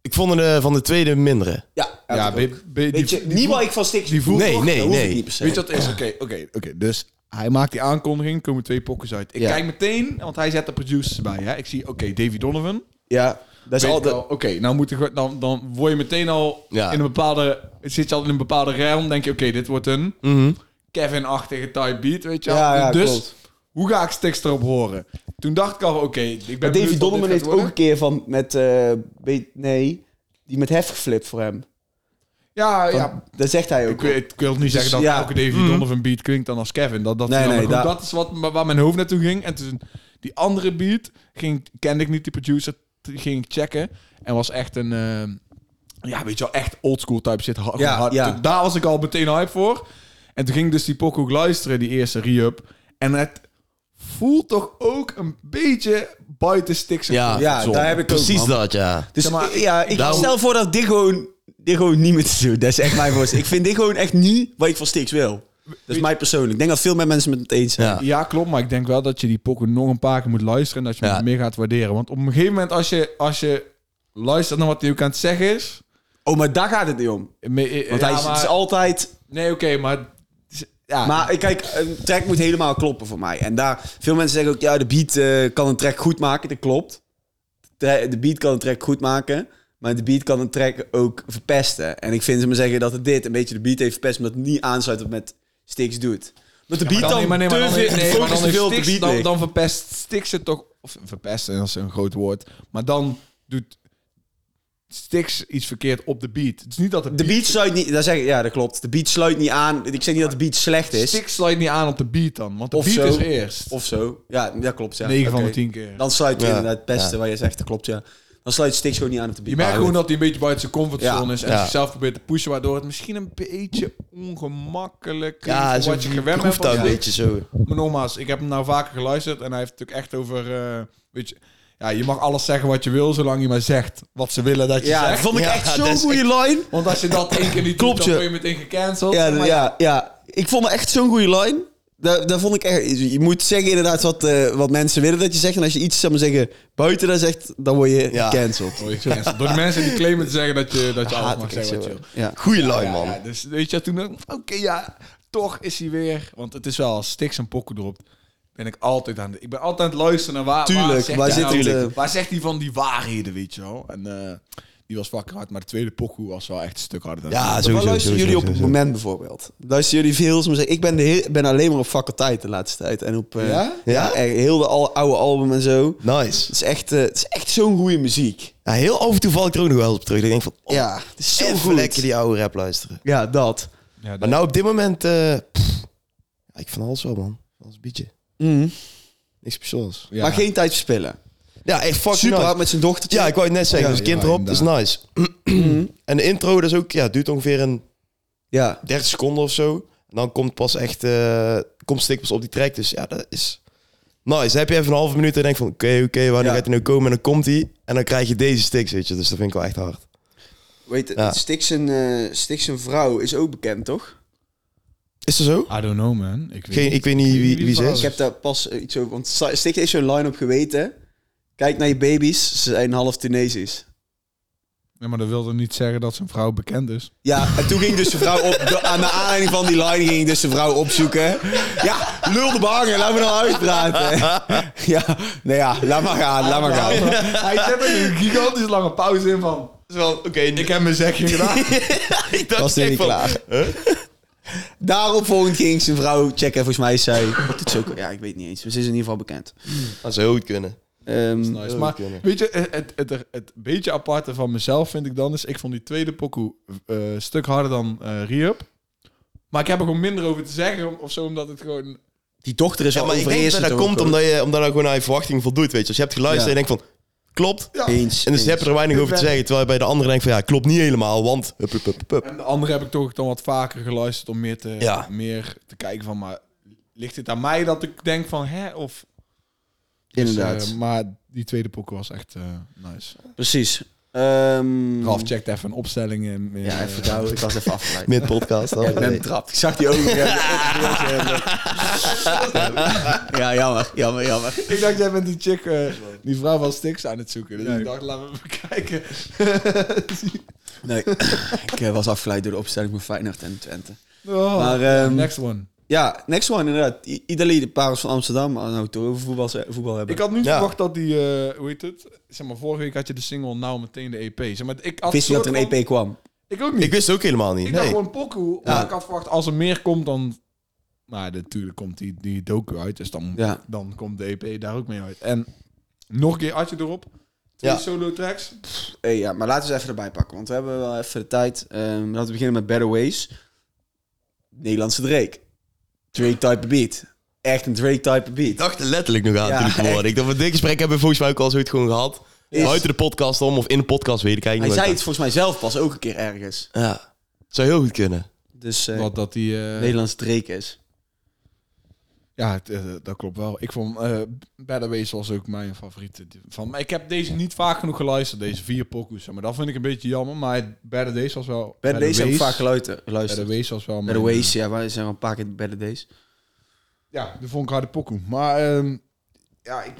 Ik vond de, van de tweede mindere.
Ja,
Ja,
ik ook.
be- be- die-
Weet je, niet wat ik van Styx
die voel-
voel,
Nee,
toch?
nee,
Dat hoef
nee.
ik niet per se.
Weet je wat het is? Oké, oké, oké. Dus hij maakt die aankondiging, komen twee pokkers uit. Ik
Ja.
kijk meteen, want hij zet de producers erbij. Hè? Ik zie, oké, Davy Donovan.
Ja, dat is
Weet
al
ik wel,
de...
Oké, nou moet ik, dan, dan word je meteen al
Ja.
in een bepaalde... Zit je al in een bepaalde realm, denk je, oké, dit wordt een Kevin-achtige type beat, weet je wel.
Mhm. Ja, ja,
Dus
klopt.
hoe ga ik Stix erop horen? Toen dacht ik al, oké, ik ben
Davy
benieuwd wat dit
Donovan
gaat
heeft ook
worden.
een keer van met, eh, weet- nee, die met hef geflipt voor hem.
Ja,
Van-
ja.
Dat zegt hij ook. Dus
Ik, weet- ik wil niet zeggen dat
ja. Mhm.
elke Davy Donovan beat klinkt dan als Kevin. Dat, dat,
Nee,
nee,
nee,
dat,
daar-
dat is wat, waar mijn hoofd naartoe ging. En toen die andere beat ging, kende ik niet, die producer, t- ging ik checken. En was echt een, eh, ja, weet je wel, echt oldschool type shit. Hard,
Ja,
hard.
ja.
Toen- daar was ik al meteen hype voor. En toen ging ik dus die pokoe ook luisteren, die eerste re-up. En het voelt toch ook een beetje buiten sticks.
Ja,
Ja, daar heb ik
precies
ook, man.
dat, ja.
Dus
Zeg maar,
ik- ja, ik
daarom-
stel voor dat dit gewoon, dit gewoon niet meer te doen. Dat is echt mijn voorstel. Ik vind dit gewoon echt niet wat ik van Stix wil. Dat is mij persoonlijk. Ik denk dat veel meer mensen met het eens zijn.
Ja.
Ja, klopt. Maar ik denk wel dat je die pokken nog een paar keer moet luisteren. En dat je
Ja.
hem meer gaat waarderen. Want op een gegeven moment, als je, als je luistert naar wat hij ook aan het zeggen is.
Oh, maar daar gaat het niet om.
me- eh,
Want
ja,
hij is,
maar-
het is altijd...
Nee, oké, maar. Ja,
Maar ik- kijk, een track moet helemaal kloppen voor mij. En daar, veel mensen zeggen ook, ja, de beat eh, kan een track goed maken. Dat klopt. Tra- De beat kan een track goed maken. Maar de beat kan een track ook verpesten. En ik vind ze maar zeggen dat het dit een beetje de beat heeft verpest... omdat het niet aansluit op met Stix doet. Dat de beat
dan,
dan,
nee, maar nee, maar
te
dan,
veel,
nee,
de
maar
focus
dan,
te
is
veel op de
Stix-
beat
dan,
ligt.
dan verpest Stix het toch. Of verpesten, dat is een groot woord. Maar dan doet Stix iets verkeerd op de beat. Het is niet dat de,
De beat sluit niet, daar zeg ik, ja, dat klopt. De beat sluit niet aan. Ik zeg niet dat de beat slecht
beat.
is.
Stix sluit niet aan op de beat dan. Want de
Of
beat
zo.
is er eerst.
Of zo. Ja, dat klopt. Ja.
9 van
Oké.
de 10 keer.
Dan sluit hij
Ja. Ah,
inderdaad het beste wat je zegt, dat klopt, ja. Dan sluit Stix gewoon niet aan op de beat.
Je merkt
Maar
gewoon
goed.
dat hij een beetje buiten zijn comfortzone
Ja,
is en
ja.
zichzelf probeert te pushen, waardoor het misschien een beetje ongemakkelijk klinkt
Ja,
voor
zo
wat je gewend bent.
groeft dat
van- Oh,
een beetje zo.
Maar nogmaals, ik heb hem nou vaker geluisterd en hij heeft natuurlijk echt over, eh, weet je, ja, je mag alles zeggen wat je wil, zolang je maar zegt wat ze willen dat je
Ja, dat
zegt.
vond ik
Ja,
echt
dat
zo'n
is
goede line.
Want als je dat één keer niet
Klopt
doet, dan
je.
word je meteen gecanceld.
Ja,
Maar
ja, ja. Ik vond het echt zo'n goede line. Daar, daar vond ik echt... Je moet zeggen inderdaad wat, eh, wat mensen willen dat je zegt. En als je iets, zeg maar zeggen, buiten daar zegt, dan word je
Ja.
gecanceld.
word je gecanceld. Door de mensen die claimen te zeggen dat je, dat je alles
Haat
mag
ik echt
zeggen wat je
zo.
wil.
Ja.
Goeie line,
Ja,
Oh, man.
ja, dus weet je, toen dacht ik, oké, ja, toch is hij weer. Want het is wel, als Stix een pokken dropt, ben ik altijd aan de... Ik ben altijd aan het luisteren naar waar, waar
Tuurlijk,
zegt
waar
hij
zit
nou-
het, eh?
waar zegt hij van die waarheden, weet je wel. En eh, die was fucking hard, maar de tweede pokoe was wel echt een stuk harder. dan
Ja,
die.
sowieso.
Waar luisteren
sowieso,
jullie op het
sowieso.
moment bijvoorbeeld? Luisteren jullie veel? Soms zeg ik, ik ben, de heel- ben alleen maar op faculteit de laatste tijd. En op eh,
Ja?
ja, echt heel de al, oude album en zo.
Nice.
Het is echt, eh, het is echt zo'n goede muziek.
Ja, heel af en toe val ik er ook nog wel eens op terug. Ik denk van, oh,
Ja, het is zo
even
goed.
lekker die oude rap luisteren.
Ja, dat.
Ja, dat-
Maar nou op dit moment, eh, pff, ja, ik van alles wel, man. Als een beetje.
Mm.
Niks speciaals.
ja.
Maar geen tijd verspillen.
Ja, echt fucking
Super
nice.
hard met zijn dochtertje.
Ja, ik wou het net zeggen.
Ja,
dus kind
ja,
erop, dat is nice. [clears throat] en de intro, dat is ook, ja, duurt ongeveer een
ja.
30 seconden of zo. En dan komt pas echt, eh komt stik pas op die track. Dus ja, dat is nice. Dan heb je even een halve minuut en denk van, oké, oké, wanneer
Ja.
gaat hij nou komen? En dan komt hij. En dan krijg je deze stik, weet je. Dus dat vind ik wel echt hard.
Weet,
Ja.
Stix en, eh, Stix en vrouw is ook bekend, toch?
Is dat zo?
I don't know, man. Ik weet
Geen, ik weet niet wie, wie ze
Ik
is.
heb daar pas eh, iets over... Want Sa- Stix heeft zo'n line-up geweten. Kijk naar je baby's, ze zijn half Tunesisch.
Nee, maar dat wilde niet zeggen dat zijn vrouw bekend is.
Ja, en toen ging dus de vrouw op... de- aan de aanleiding van die line ging dus de vrouw opzoeken. Ja, lul de behanger, laat me nou uitpraten. Ja, nou ja, laat maar gaan, laat maar gaan.
[laughs] Hij zet er een gigantisch lange pauze in van...
Oké,
Ik heb mijn zegje [laughs] gedaan.
Was hij niet klaar. Daarop volgend ging zijn vrouw checken. Volgens mij is zij... Wat doet ze ook? Ja, ik weet niet eens. Maar ze is in ieder geval bekend.
Dat zou heel goed kunnen.
Ehm,
is nice. Eh, Maar
kunnen.
weet je, het, het, het, het beetje aparte van mezelf vind ik dan is... Ik vond die tweede pokoe eh, een stuk harder dan eh Re-Up. Maar ik heb er gewoon minder over te zeggen om- of zo, omdat het gewoon...
die dochter is
Ja,
al
maar ik denk dat
overheersend.
dat
ook,
komt
hoor.
omdat je, omdat dat gewoon aan je verwachting voldoet, weet je. Als je hebt geluisterd
Ja.
en je denkt van, klopt.
Ja.
Eens.
En dus
eens.
heb je er weinig over te zeggen. Terwijl je bij de andere denkt van, ja, klopt niet helemaal, want... Hup, hup, hup, hup, hup.
En de andere heb ik toch dan wat vaker geluisterd om meer te,
Ja.
meer te kijken van... Maar ligt het aan mij dat ik denk van, hè, of... Dus,
Inderdaad.
eh, maar die tweede pokoe was echt eh, nice.
Precies. Ehm,
Ralf checkt even een opstelling. In, in,
Ja,
eh,
even douwen. Ik was even
[laughs]
afgeleid.
Mid-podcast.
Ja, ik ben
dan.
betrapt.
Ik zag die ogen. ja.
Ja, jammer, jammer, jammer.
[laughs] Ik dacht, jij bent die chick, eh, die vrouw van Stix aan het zoeken. Dus ik dacht, laten we even [laughs] kijken.
[laughs] Nee.
Ik eh, was afgeleid door de opstelling van Feyenoord en Twente.
Oh,
Maar,
ja,
ehm,
next one.
Ja, next one inderdaad. I- Idali, de parels van Amsterdam. Ah, nou, toch over voetbal, ze- voetbal hebben.
Ik had niet
Ja.
verwacht dat die, eh, hoe heet het? Zeg maar, vorige week had je de single, nou meteen de EP. Zeg maar, ik had
wist niet dat er
soort
een E
van-
EP kwam.
Ik ook niet.
Ik
Ik,
wist het ook helemaal niet.
dacht
Nee.
gewoon pokoe. Maar ik had verwacht, als er meer komt, dan... Nou, natuurlijk komt die, die docu uit. Dus dan,
Ja.
dan komt de EP daar ook mee uit. En nog een keer had je erop. Twee
Ja.
solo tracks.
Hey, Eh, ja, maar laten we eens even erbij pakken, want we hebben wel even de tijd. Ehm, laten we beginnen met Better Ways. Nederlandse Drake. Drake-type beat. Echt een Drake-type beat.
Ik dacht er letterlijk nog aan
Ja,
toen ik hem hoorde. Ik dacht, van dit gesprek hebben we volgens mij ook al zoiets gewoon gehad.
Is-
Buiten de podcast om, of in de podcast, weet ik
Hij
eigenlijk
zei
niet.
het volgens mij zelf pas ook een keer ergens.
maar- Ja. Het zou heel goed kunnen.
Dus eh
Wat dat die... eh,
Nederlands Drake is.
Ja, het, eh, dat klopt wel. Ik vond eh Better Ways was ook mijn favoriete. Van, maar ik heb deze niet vaak genoeg geluisterd, deze vier pokoes. Maar dat vind ik een beetje jammer. Maar Better Days was wel...
Better Days heb ik
Ways-
vaak geluisterd.
Better
Better,
Ways was wel
Better
mijn, eh,
Ways, ja, wij zijn wel een paar keer Better Days.
Ja, de vond ik harde pokoe. Maar ehm, ja, ik,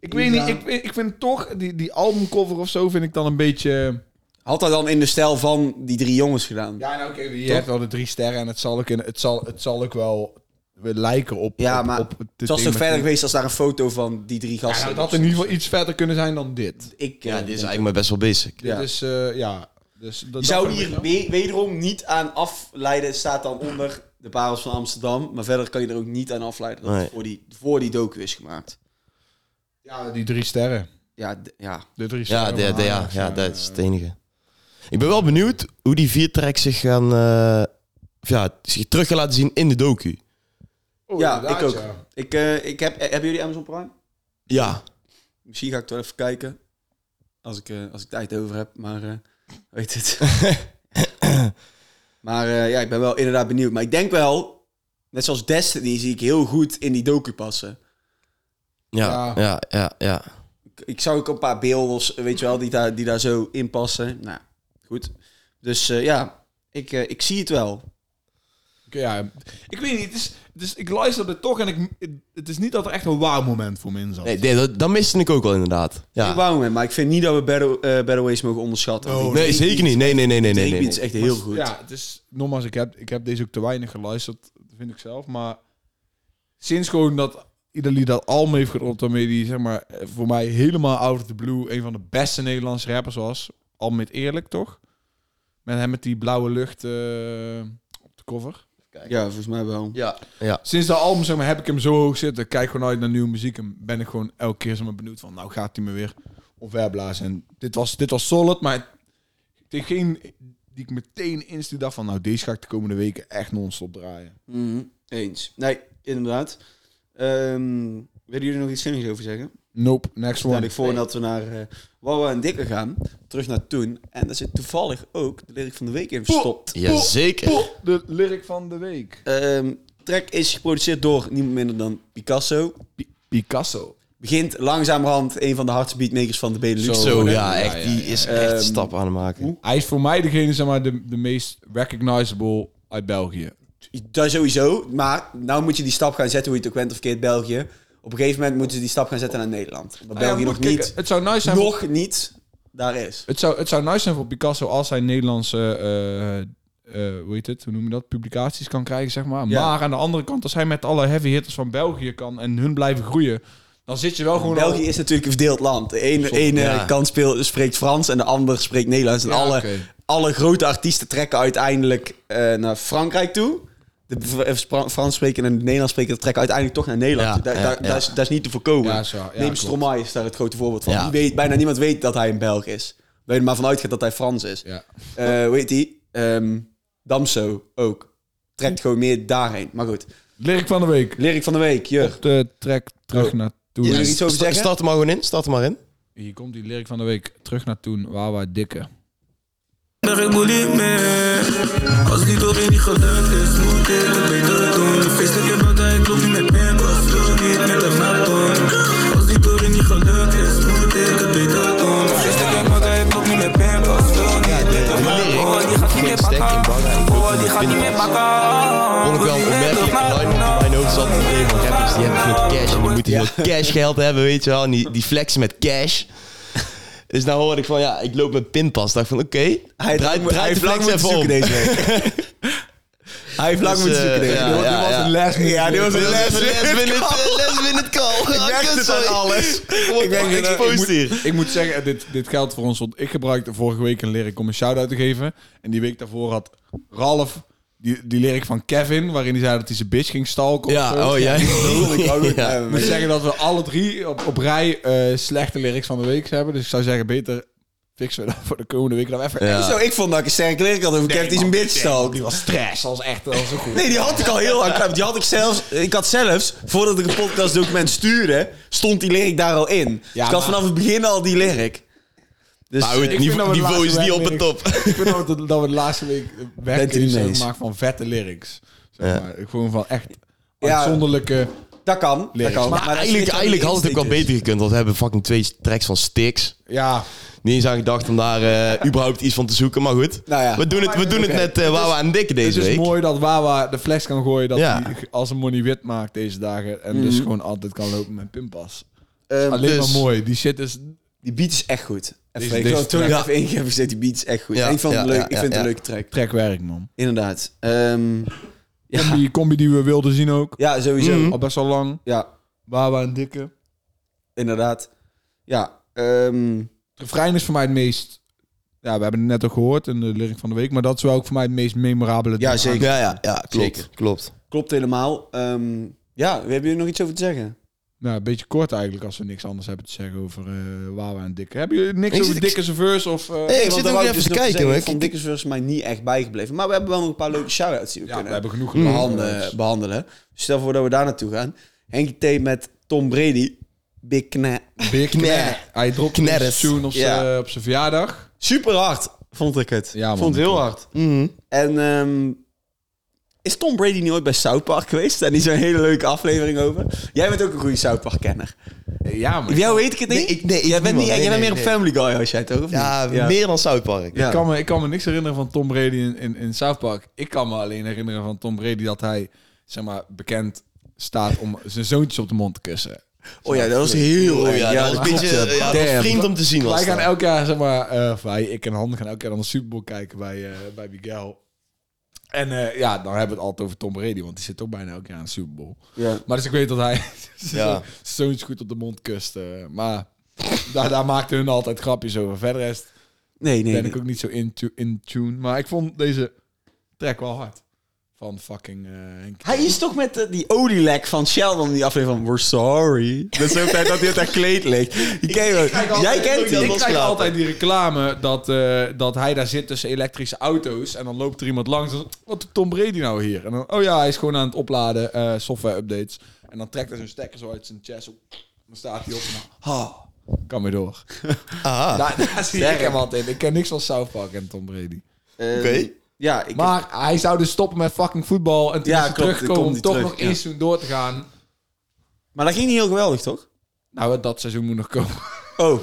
ik weet
Ja.
niet. Ik, weet- ik vind toch, die, die albumcover of zo vind ik dan een beetje...
Had dat dan in de stijl van die drie jongens gedaan?
Ja, nou oké, je hebt wel de drie sterren en het zal ook, in, het zal, het zal ook wel lijken op...
Ja,
op,
maar
op de
Het was toch
thematiek.
verder geweest als daar een foto van die drie
Dus Ja,
gasten.
nou, dat had in ieder geval iets verder kunnen zijn dan dit.
Ik,
Ja, dit is
eh, denk-
eigenlijk maar best wel basic.
Dit
Ja.
is, eh, ja. Dus dat-
Je
dat
zou
vind ik
hier
wel.
we- wederom niet aan afleiden. Het staat dan onder de parels van Amsterdam. Maar verder kan je er ook niet aan afleiden dat het
Nee.
voor die, voor die docu is gemaakt.
Ja, die drie sterren.
Ja, d- ja.
De drie
Ja,
sterren.
de,
van
de- ja,
Ajax,
ja,
eh,
dat is het enige. Ik ben wel benieuwd hoe die vier tracks zich gaan... eh, of ja, zich terug gaan laten zien in de docu.
oh,
Ja,
inderdaad,
ik ook.
ja.
Ik, eh, ik heb, eh, hebben jullie Amazon Prime?
Ja.
Misschien ga ik toch even kijken. Als ik, eh, als ik tijd over heb. Maar eh, weet het. maar eh, ja, ik ben wel inderdaad benieuwd. Maar ik denk wel, net zoals Destiny, zie ik heel goed in die docu passen.
Ja,
Ja.
ja, ja, ja.
Ik, ik zou ook een paar beelders, weet je wel, die daar, die daar zo in passen. Nou, goed. Dus eh, ja, ik, eh, ik zie het wel.
Oké, ja. Ik weet niet, het is, het is- ik luisterde toch en ik, het, het is niet dat er echt een wauw moment voor me in zat.
Nee, dit- dat, dat miste ik ook wel inderdaad.
Ik
Ja.
wou hem, maar ik vind niet dat we Better, eh, Better Ways mogen onderschatten. Want Oh, die
Oh, Nee,
Drake
zeker
beat-
niet. Nee, nee, nee, nee, nee.
Drake
nee,
beat is
nee.
echt heel goed.
Ja, het is, nogmaals, ik heb, ik heb deze ook te weinig geluisterd, vind ik zelf. Maar sinds gewoon dat Idali dat album heeft gedropt, waarmee die zeg maar, eh, voor mij helemaal out of the blue een van de beste Nederlandse rappers was. Al met eerlijk, toch? Met hem met die blauwe lucht eh, op de cover.
ja, volgens mij wel.
Ja. Ja.
Sinds dat album zeg maar, heb ik hem zo hoog zitten. Kijk gewoon uit naar nieuwe muziek. En ben ik gewoon elke keer zo maar benieuwd van. Nou gaat hij me weer omverblazen. En dit was, dit was solid. Maar het- degene die ik meteen instant dacht van. Nou deze ga ik de komende weken echt non-stop draaien.
Mhm, Eens. Nee, inderdaad. Ehm willen jullie nog iets zinnigs over zeggen?
Nope, next
Stel
one.
ik voor dat we naar eh Wawa en Dikke gaan. Terug naar toen. En daar zit toevallig ook de lyric van de week in verstopt.
Jazeker.
Poeh, de lyric van de week.
Ehm track is geproduceerd door niemand minder dan Picasso.
Picasso.
Begint langzamerhand een van de hardste beatmakers van de Benelux. te
Zo,
worden.
ja,
Ja,
echt.
ja,
Die
ja.
is echt
Ehm,
een stap aan het maken.
Hij is voor mij degene zeg maar, de, de meest recognizable uit België.
Dat sowieso. Maar nou moet je die stap gaan zetten, hoe je het ook bent of keert België. Op een gegeven moment moeten ze die stap gaan zetten naar Nederland. Omdat België nog
Kijk,
niet,
Eh, Het zou nice zijn. voor-
nog niet daar is.
Het zou, het zou nice zijn voor Picasso als hij Nederlandse, eh, eh, hoe heet het, hoe noem je dat, publicaties kan krijgen, zeg maar.
Ja.
Maar aan de andere kant, als hij met alle heavy hitters van België kan en hun blijven groeien, dan zit je wel gewoon al-
België is natuurlijk een verdeeld land. De ene,
Soms,
ene
ja.
kant speel- spreekt Frans en de ander spreekt Nederlands. En
Ja,
alle,
oké.
alle grote artiesten trekken uiteindelijk eh, naar Frankrijk toe. de v- Spra- Frans spreken en het Nederlands spreken dat trekken uiteindelijk toch naar Nederland.
Ja,
daar,
ja,
daar,
ja.
daar is, daar is niet te voorkomen.
Ja, zo, ja,
Neem
klopt.
Stromae is daar het grote voorbeeld van.
Ja.
Die weet, bijna niemand weet dat hij een Belg is. Waar je er maar vanuit gaat dat hij Frans is.
Ja.
Eh hoe heet die? Ehm, Damso ook. Trekt gewoon meer daarheen. Maar goed.
Lyric van de week.
Lyric van de week, Jur.
De track terug
Oh.
naar toen.
Wil je er iets over
Sta-
zeggen?
Start er maar gewoon in, start er maar in.
Hier komt die lyric van de week. Terug naar toen. Wawa dikke.
Maar ik moet niet meer. Als niet door je niet gelukt is, moet ik het beter doen. Feest ik heb buiten, ik loop niet met meer. Was wil niet met een marathon. Als niet door je niet gelukt is, moet ik het beter doen. Feest ik heb buiten, ik loop niet met meer. Was wil niet met een marathon. Oh, Die gaat niet meer
Geen stek in
bakken.
Bahrein.
Oh, die gaat niet meer bakken.
Vond ik wel opmerkelijk online, want in mijn hoofd zat het idee van rappers die hebben veel cash en die moeten veel cash geld hebben, weet je wel. En die, die flexen met cash. Dus nou hoorde ik van, ja, ik loop met pinpas. Dacht van, oké,
Hij,
draait draai,
hij
draai de
heeft lang
flex
moeten
even om.
zoeken deze week. [laughs] hij heeft lang
Dus,
moeten zoeken
eh,
deze
ja,
week.
ja,
Dit
ja.
last minute. Ja, dit was een last minute.
Last-minute
[laughs]
call.
Ik merkte het aan alles.
Ik ben
dat- ik,
geëxposed
moet,
hier.
ik moet zeggen, eh, dit, dit geldt voor ons. Want ik gebruikte vorige week een lyric om een shout-out te geven. En die week daarvoor had Ralf die, die lyric van Kevin. Waarin hij zei dat hij zijn bitch ging stalken. of zo.
[laughs] Ja, oh jij.
[laughs]
Ja.
Ik moet zeggen dat we alle drie op, op rij eh, slechte lyrics van de week hebben. Dus ik zou zeggen, beter fixen we dat voor de komende week dan even.
Ja.
Zo, ik vond dat ik een sterke lyric had over Kevin die zijn bitch stalk.
Die was stress, als echt wel zo goed.
Nee, die had ik al heel lang. Die had ik zelfs. Ik had zelfs, voordat ik een podcastdocument stuurde, stond die lyric daar al in. dus ik had
maar-
vanaf het begin al die lyric. Dus
Nou, het
Ik vind dat
niveau,
we de
niveau is
laatste
niet op
week
het top.
[laughs] Ik vind dat we, dat we de laatste week
het
werk
niet mee eens?
gemaakt van vette lyrics. Zeg
Ja.
maar. Gewoon van echt
Ja.
uitzonderlijke...
dat kan. Dat
Lyrics.
kan.
Maar
dat
Maar
is
eigenlijk,
niet wat
eigenlijk
die
had het ook wel
instinct
beter gekund, want we hebben fucking twee tracks van Sticks.
Ja,
Niet eens aan gedacht om daar eh, überhaupt iets van te zoeken, maar goed.
Nou ja.
We doen het, we doen het
Oké.
net eh Wawa en Dikke
het
deze
is
week.
mooi dat Wawa de fles kan gooien dat
Ja.
hij als een money wit maakt deze dagen. En dus gewoon altijd kan lopen met pinpas.
is. Ehm,
Alleen
dus-
maar mooi. Die shit is...
Die beat is echt goed.
Deze-
Even, ik
deze
wil het toen ik
track.
even ingeven, gezet, die beat is echt goed.
Ja,
ik, vond het
ja,
leuk,
ja,
ik vind het
ja.
een leuke track.
Trekwerk, man.
Inderdaad. Ehm, ja.
Combi, combi die we wilden zien ook.
ja, sowieso.
Mhm.
Al best wel lang.
Ja,
Wawa en Dikke.
inderdaad. Ja, ehm,
Het refrein is voor mij het meest... Ja, we hebben het net ook gehoord in de lyric van de week. Maar dat is wel ook voor mij het meest memorabele.
Ja,
ding
zeker.
Ja, ja, ja, klopt.
Zeker.
klopt.
klopt helemaal. Ehm, ja, hebben jullie nog iets over te zeggen?
Nou, een beetje kort eigenlijk als we niks anders hebben te zeggen over eh Wawa en Dikke. Hebben jullie niks
Ik
over
zit-
Dikke zijn verse of... eh,
Hey, ik
want
zit ook
daar wou
even
dus
te
nog
kijken.
zeggen,
hoor.
Ik vond Dikke Verse mij niet echt bijgebleven. Maar we hebben wel nog een paar leuke shout-outs die we
ja, we
kunnen Mm.
hebben genoeg
Mhm.
eh.
behanden- behandelen. Dus Stel voor dat we daar naartoe gaan. Henkie T met Tom Brady. Big Kna.
Big
Kner.
Hij dropt een
Knerres.
tune op
Ja.
zijn op zijn verjaardag.
Super hard, vond ik het.
Ja, man,
vond het heel
ik
hard.
Mhm.
En ehm, is Tom Brady niet ooit bij South Park geweest? Daar is een hele leuke aflevering over. Jij bent ook een goede South Park-kenner.
Eh, Ja, maar
Jou weet ik het niet?
Nee, ik- nee, ik
jij bent,
niemand.
niet, jij
Nee,
bent
nee,
meer
nee.
een Family Guy als jij toch? Of
Ja,
niet?
meer dan South Park.
Ja.
Ik, kan me, ik kan me niks herinneren van Tom Brady in, in, in South Park. Ik kan me alleen herinneren van Tom Brady dat hij zeg maar, bekend staat om zijn zoontjes op de mond te kussen.
Oh ja, dat was heel
Oh,
erg.
ja, dat was een
klopt,
beetje
ja.
eh, ja, dat was
Damn.
vreemd om te zien. Was
Wij gaan
dat.
elk jaar, zeg maar, eh, of wij, ik en Han gaan elk jaar dan de Super Bowl kijken bij, eh, bij Miguel. En eh, ja, dan hebben we het altijd over Tom Brady, want die zit ook bijna elk jaar aan de Super Bowl.
Ja.
Maar dus ik weet dat hij [laughs]
Ja.
zijn zoontjes goed op de mond kust. eh, maar daar, daar maakten hun altijd grapjes over. Verder is het-
Nee, nee.
ben
nee.
ik ook niet zo in, tu- in tune. Maar ik vond deze track wel hard. Van fucking eh Henk.
Hij is toch met eh, die olielek van Sheldon, die aflevering van We're Sorry. Dat is ook tijd dat hij op dat kleed ligt. Die ken je wel. Jij kent
ik
die.
krijg altijd die reclame dat, eh, dat hij daar zit tussen elektrische auto's. En dan loopt er iemand langs. en dan, Wat doet Tom Brady nou hier? En dan, oh ja, hij is gewoon aan het opladen. eh, software updates. En dan trekt hij zijn stekker zo uit zijn chest. zo, Dan staat hij op. En dan, ha, kan weer door.
Ah,
Daar, daar zie ik hem altijd in. Ik ken niks van South Park en Tom Brady.
Oké.
Oké.
Ja, ik,
Maar hij zou dus stoppen met fucking voetbal. En toen
Ja,
is hij
klopt,
teruggekomen
komt
om
hij
toch
terug,
nog
ja.
eens toen door te gaan.
maar dat ging niet heel geweldig, toch?
Nou, dat seizoen moet nog komen.
[laughs] Oh.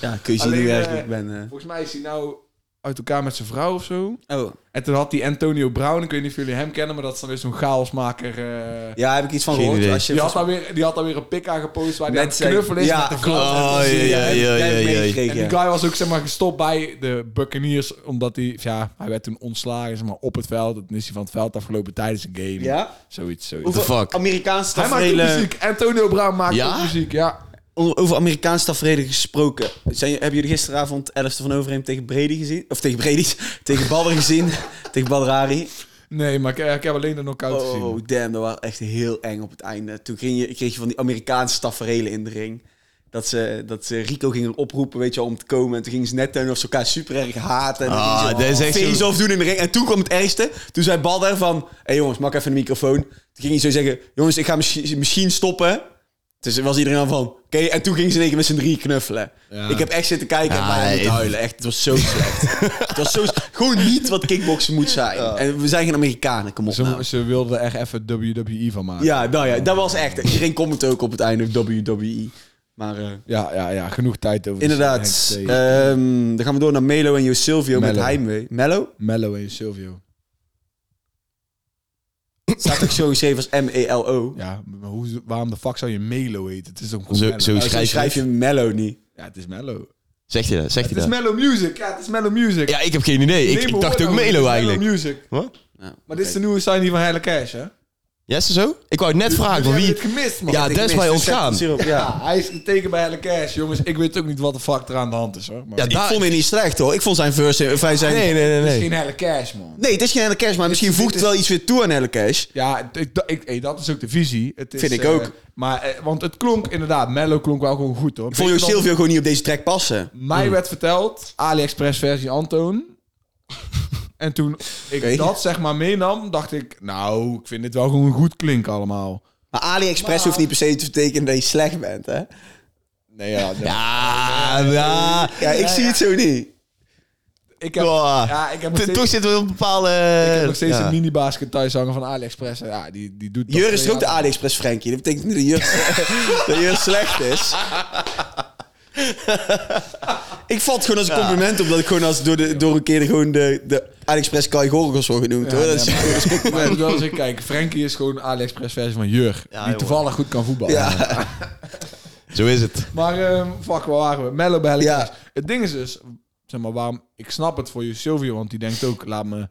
Ja, kun je zien
Alleen,
hoe
eh,
erg ik ben.
Volgens mij is hij nou uit elkaar met zijn vrouw of zo.
eh. Oh.
En toen had hij Antonio Brown. Ik weet niet of jullie hem kennen, maar dat is dan weer zo'n chaosmaker. eh
Ja, heb ik iets van
Geen
gehoord.
idee.
Als je
die, had dan weer, die had dan weer een pik aangepost waar hij aan het
zijn-
knuffelen is
ja,
met de
klopt.
vrouw.
Oh, ja, ja, ja,
Jij hebt
ja, ja.
En
meegekregen,
die
ja.
guy was ook zeg maar, gestopt bij de Buccaneers, omdat hij, ja, hij werd toen ontslagen zeg maar, op het veld. Dan is hij van het veld afgelopen tijdens een game.
Ja?
Zoiets, zoiets.
Hoeveel
fuck?
Amerikaanse
Hij maakt ook
tafereelen...
muziek. Antonio Brown maakt
Ja?
ook muziek, ja.
O- Over Amerikaanse tafereelen gesproken. Zijn, je- hebben jullie [laughs] gisteravond 11e van Overeem tegen Brady gezien? Of tegen Brady? tegen Baller gezien. tegen Balrari.
Nee, maar ik, ik heb alleen de knockout gezien.
nou.
Oh, damn, dat was echt heel eng op het einde. Toen kreeg je, kreeg je van die Amerikaanse taferelen in de ring. Dat ze, dat ze Rico gingen oproepen, weet je wel, om te komen. En toen gingen ze net doen of ze elkaar super erg haten. En dan
Ah,
gingen ze
dat is echt zo-
face-off doen in de ring. En toen kwam het ergste. Toen zei Balder van, hé jongens, maak even de microfoon. Toen ging hij zo zeggen, jongens, ik ga misschien, misschien stoppen. Dus er was iedereen al van, oké. En toen gingen ze in één keer met z'n drie knuffelen.
Ja.
Ik heb echt zitten kijken en
Ja,
bijna moeten
ik-
huilen. Echt, het was zo slecht. het was zo... Gewoon niet wat kickboksen moet zijn. En we zijn geen Amerikanen, kom op nou.
Ze, ze wilden er even WWE van maken.
Ja, nou ja, dat was echt. Iedereen komt het ook op het einde WWE. Maar eh,
ja, ja, ja, genoeg tijd over. de
inderdaad,
Saints.
ehm, dan gaan we door naar Melo en Jo Silvio met
Mello.
Heimwee. Mello?
Mello en Silvio.
Staat ook zo geschreven [laughs] als M-E-L-O.
Ja, maar hoe, waarom de fuck zou je Melo heten? Het is ook gewoon
Zo-
Mello.
zo-
Maar zo
schrijf
schrijf je Mello niet.
Ja, het is Mello.
Zegt hij dat? Zegt
Het
hij
is
dat?
Mello Music. Ja, het is Mello Music.
Ja, ik heb geen idee. Ik,
Nee,
ik
maar
dacht
hoor
ook
nou, het is
Melo eigenlijk.
Mello Music.
Wat?
Nou,
Maar dit is de nieuwe signing van Heile Cash, hè?
Ja, is dat zo? Ik wou het net vragen van
Jullie
wie...
hebben Dus het gemist, man.
Ja, dat is mij ontgaan.
Sirup, ja.
Ja, hij is getekend bij Heile Cash, jongens. Ik weet ook niet wat de fuck er aan de hand is, hoor. Maar
Ja,
het
Ik
daar-
vond hem niet slecht hoor. Ik vond zijn verse... Of hij zijn...
Nee, nee,
is
nee, nee.
geen Heile Cash, man.
Nee, het is geen Helle Cash, maar misschien voegt het wel iets weer toe aan Helle Cash.
Ja, ik, da- ik, hey, dat is ook de visie. Het is,
Vind ik
eh,
ook.
Maar, eh, want het klonk inderdaad, Mello klonk wel gewoon goed, hoor.
Ik vond Jo
Beter dan-
Silvio gewoon niet op deze track passen.
Mij werd verteld, AliExpress versie Antoon. en toen ik
Oké.
dat zeg maar meenam, dacht ik... Nou, ik vind dit wel gewoon goed klinken allemaal.
Maar AliExpress hoeft niet per se te betekenen dat je slecht bent, hè?
Nee, ja.
Ja, ja.
Ja, ik zie het zo niet.
[laughs] Ik heb,
Boah.
ja, ik heb nog
T-
steeds,
Toch zitten we op een bepaalde...
ik heb nog steeds
ja.
een mini-basket thuis hangen van AliExpress. En Ja, die, die doet dat
Jur is
twee
ook de
jaar.
AliExpress Frankie. Dat betekent niet dat Jur, dat Jur slecht is. [laughs] ik vat gewoon als een compliment op dat ik gewoon als door, de, door een keer gewoon de, de AliExpress Kai Gorgels word genoemd. hoor. Dat is
nee,
gewoon een compliment.
Maar ik moet wel zeggen, kijk, Frankie is gewoon AliExpress versie van Jur. die
jongen.
toevallig goed kan voetballen.
[laughs] Ja.
Zo is het.
Maar ehm, fuck, waar waren we? Mello bij Helle
Ja.
Cash. Het ding is dus, zeg maar, waarom... Ik snap het voor je Silvio, want die denkt ook, laat me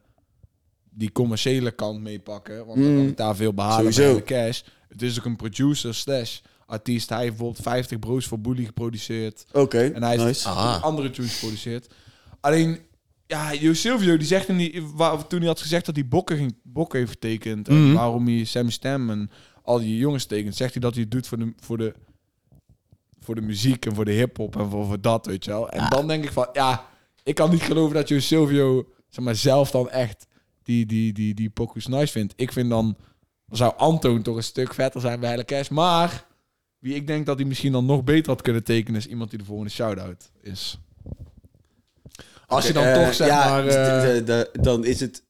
die commerciële kant meepakken. Want dan kan ik daar veel behalen
Mm. Sowieso.
bij Helle Cash. Het is ook een producer slash artiest. Hij heeft bijvoorbeeld 50 bro's voor Bully geproduceerd.
Oké,
En hij heeft
nice.
Ah.
andere tunes geproduceerd. Alleen, ja, Jo Silvio, die zegt in die, waar, toen hij had gezegd dat hij Bokken, ging, Bokken heeft getekend... en waarom hij Sam Stem en al die jongens tekent... zegt hij dat hij het doet voor de, voor de, voor de muziek en voor de hiphop en voor, voor dat, weet je wel. En dan denk ik van, ja, ik kan niet geloven dat Jo Silvio zeg maar, zelf dan echt die, die, die, die pokus nice vindt. Ik vind dan, dan zou Antoon toch een stuk vetter zijn bij Helle Cash, maar... Wie ik denk dat hij misschien dan nog beter had kunnen tekenen... is iemand die de volgende shout-out is. Als je dan
Eh,
toch, zeg
ja,
maar...
d-
eh,
d- d- dan is het...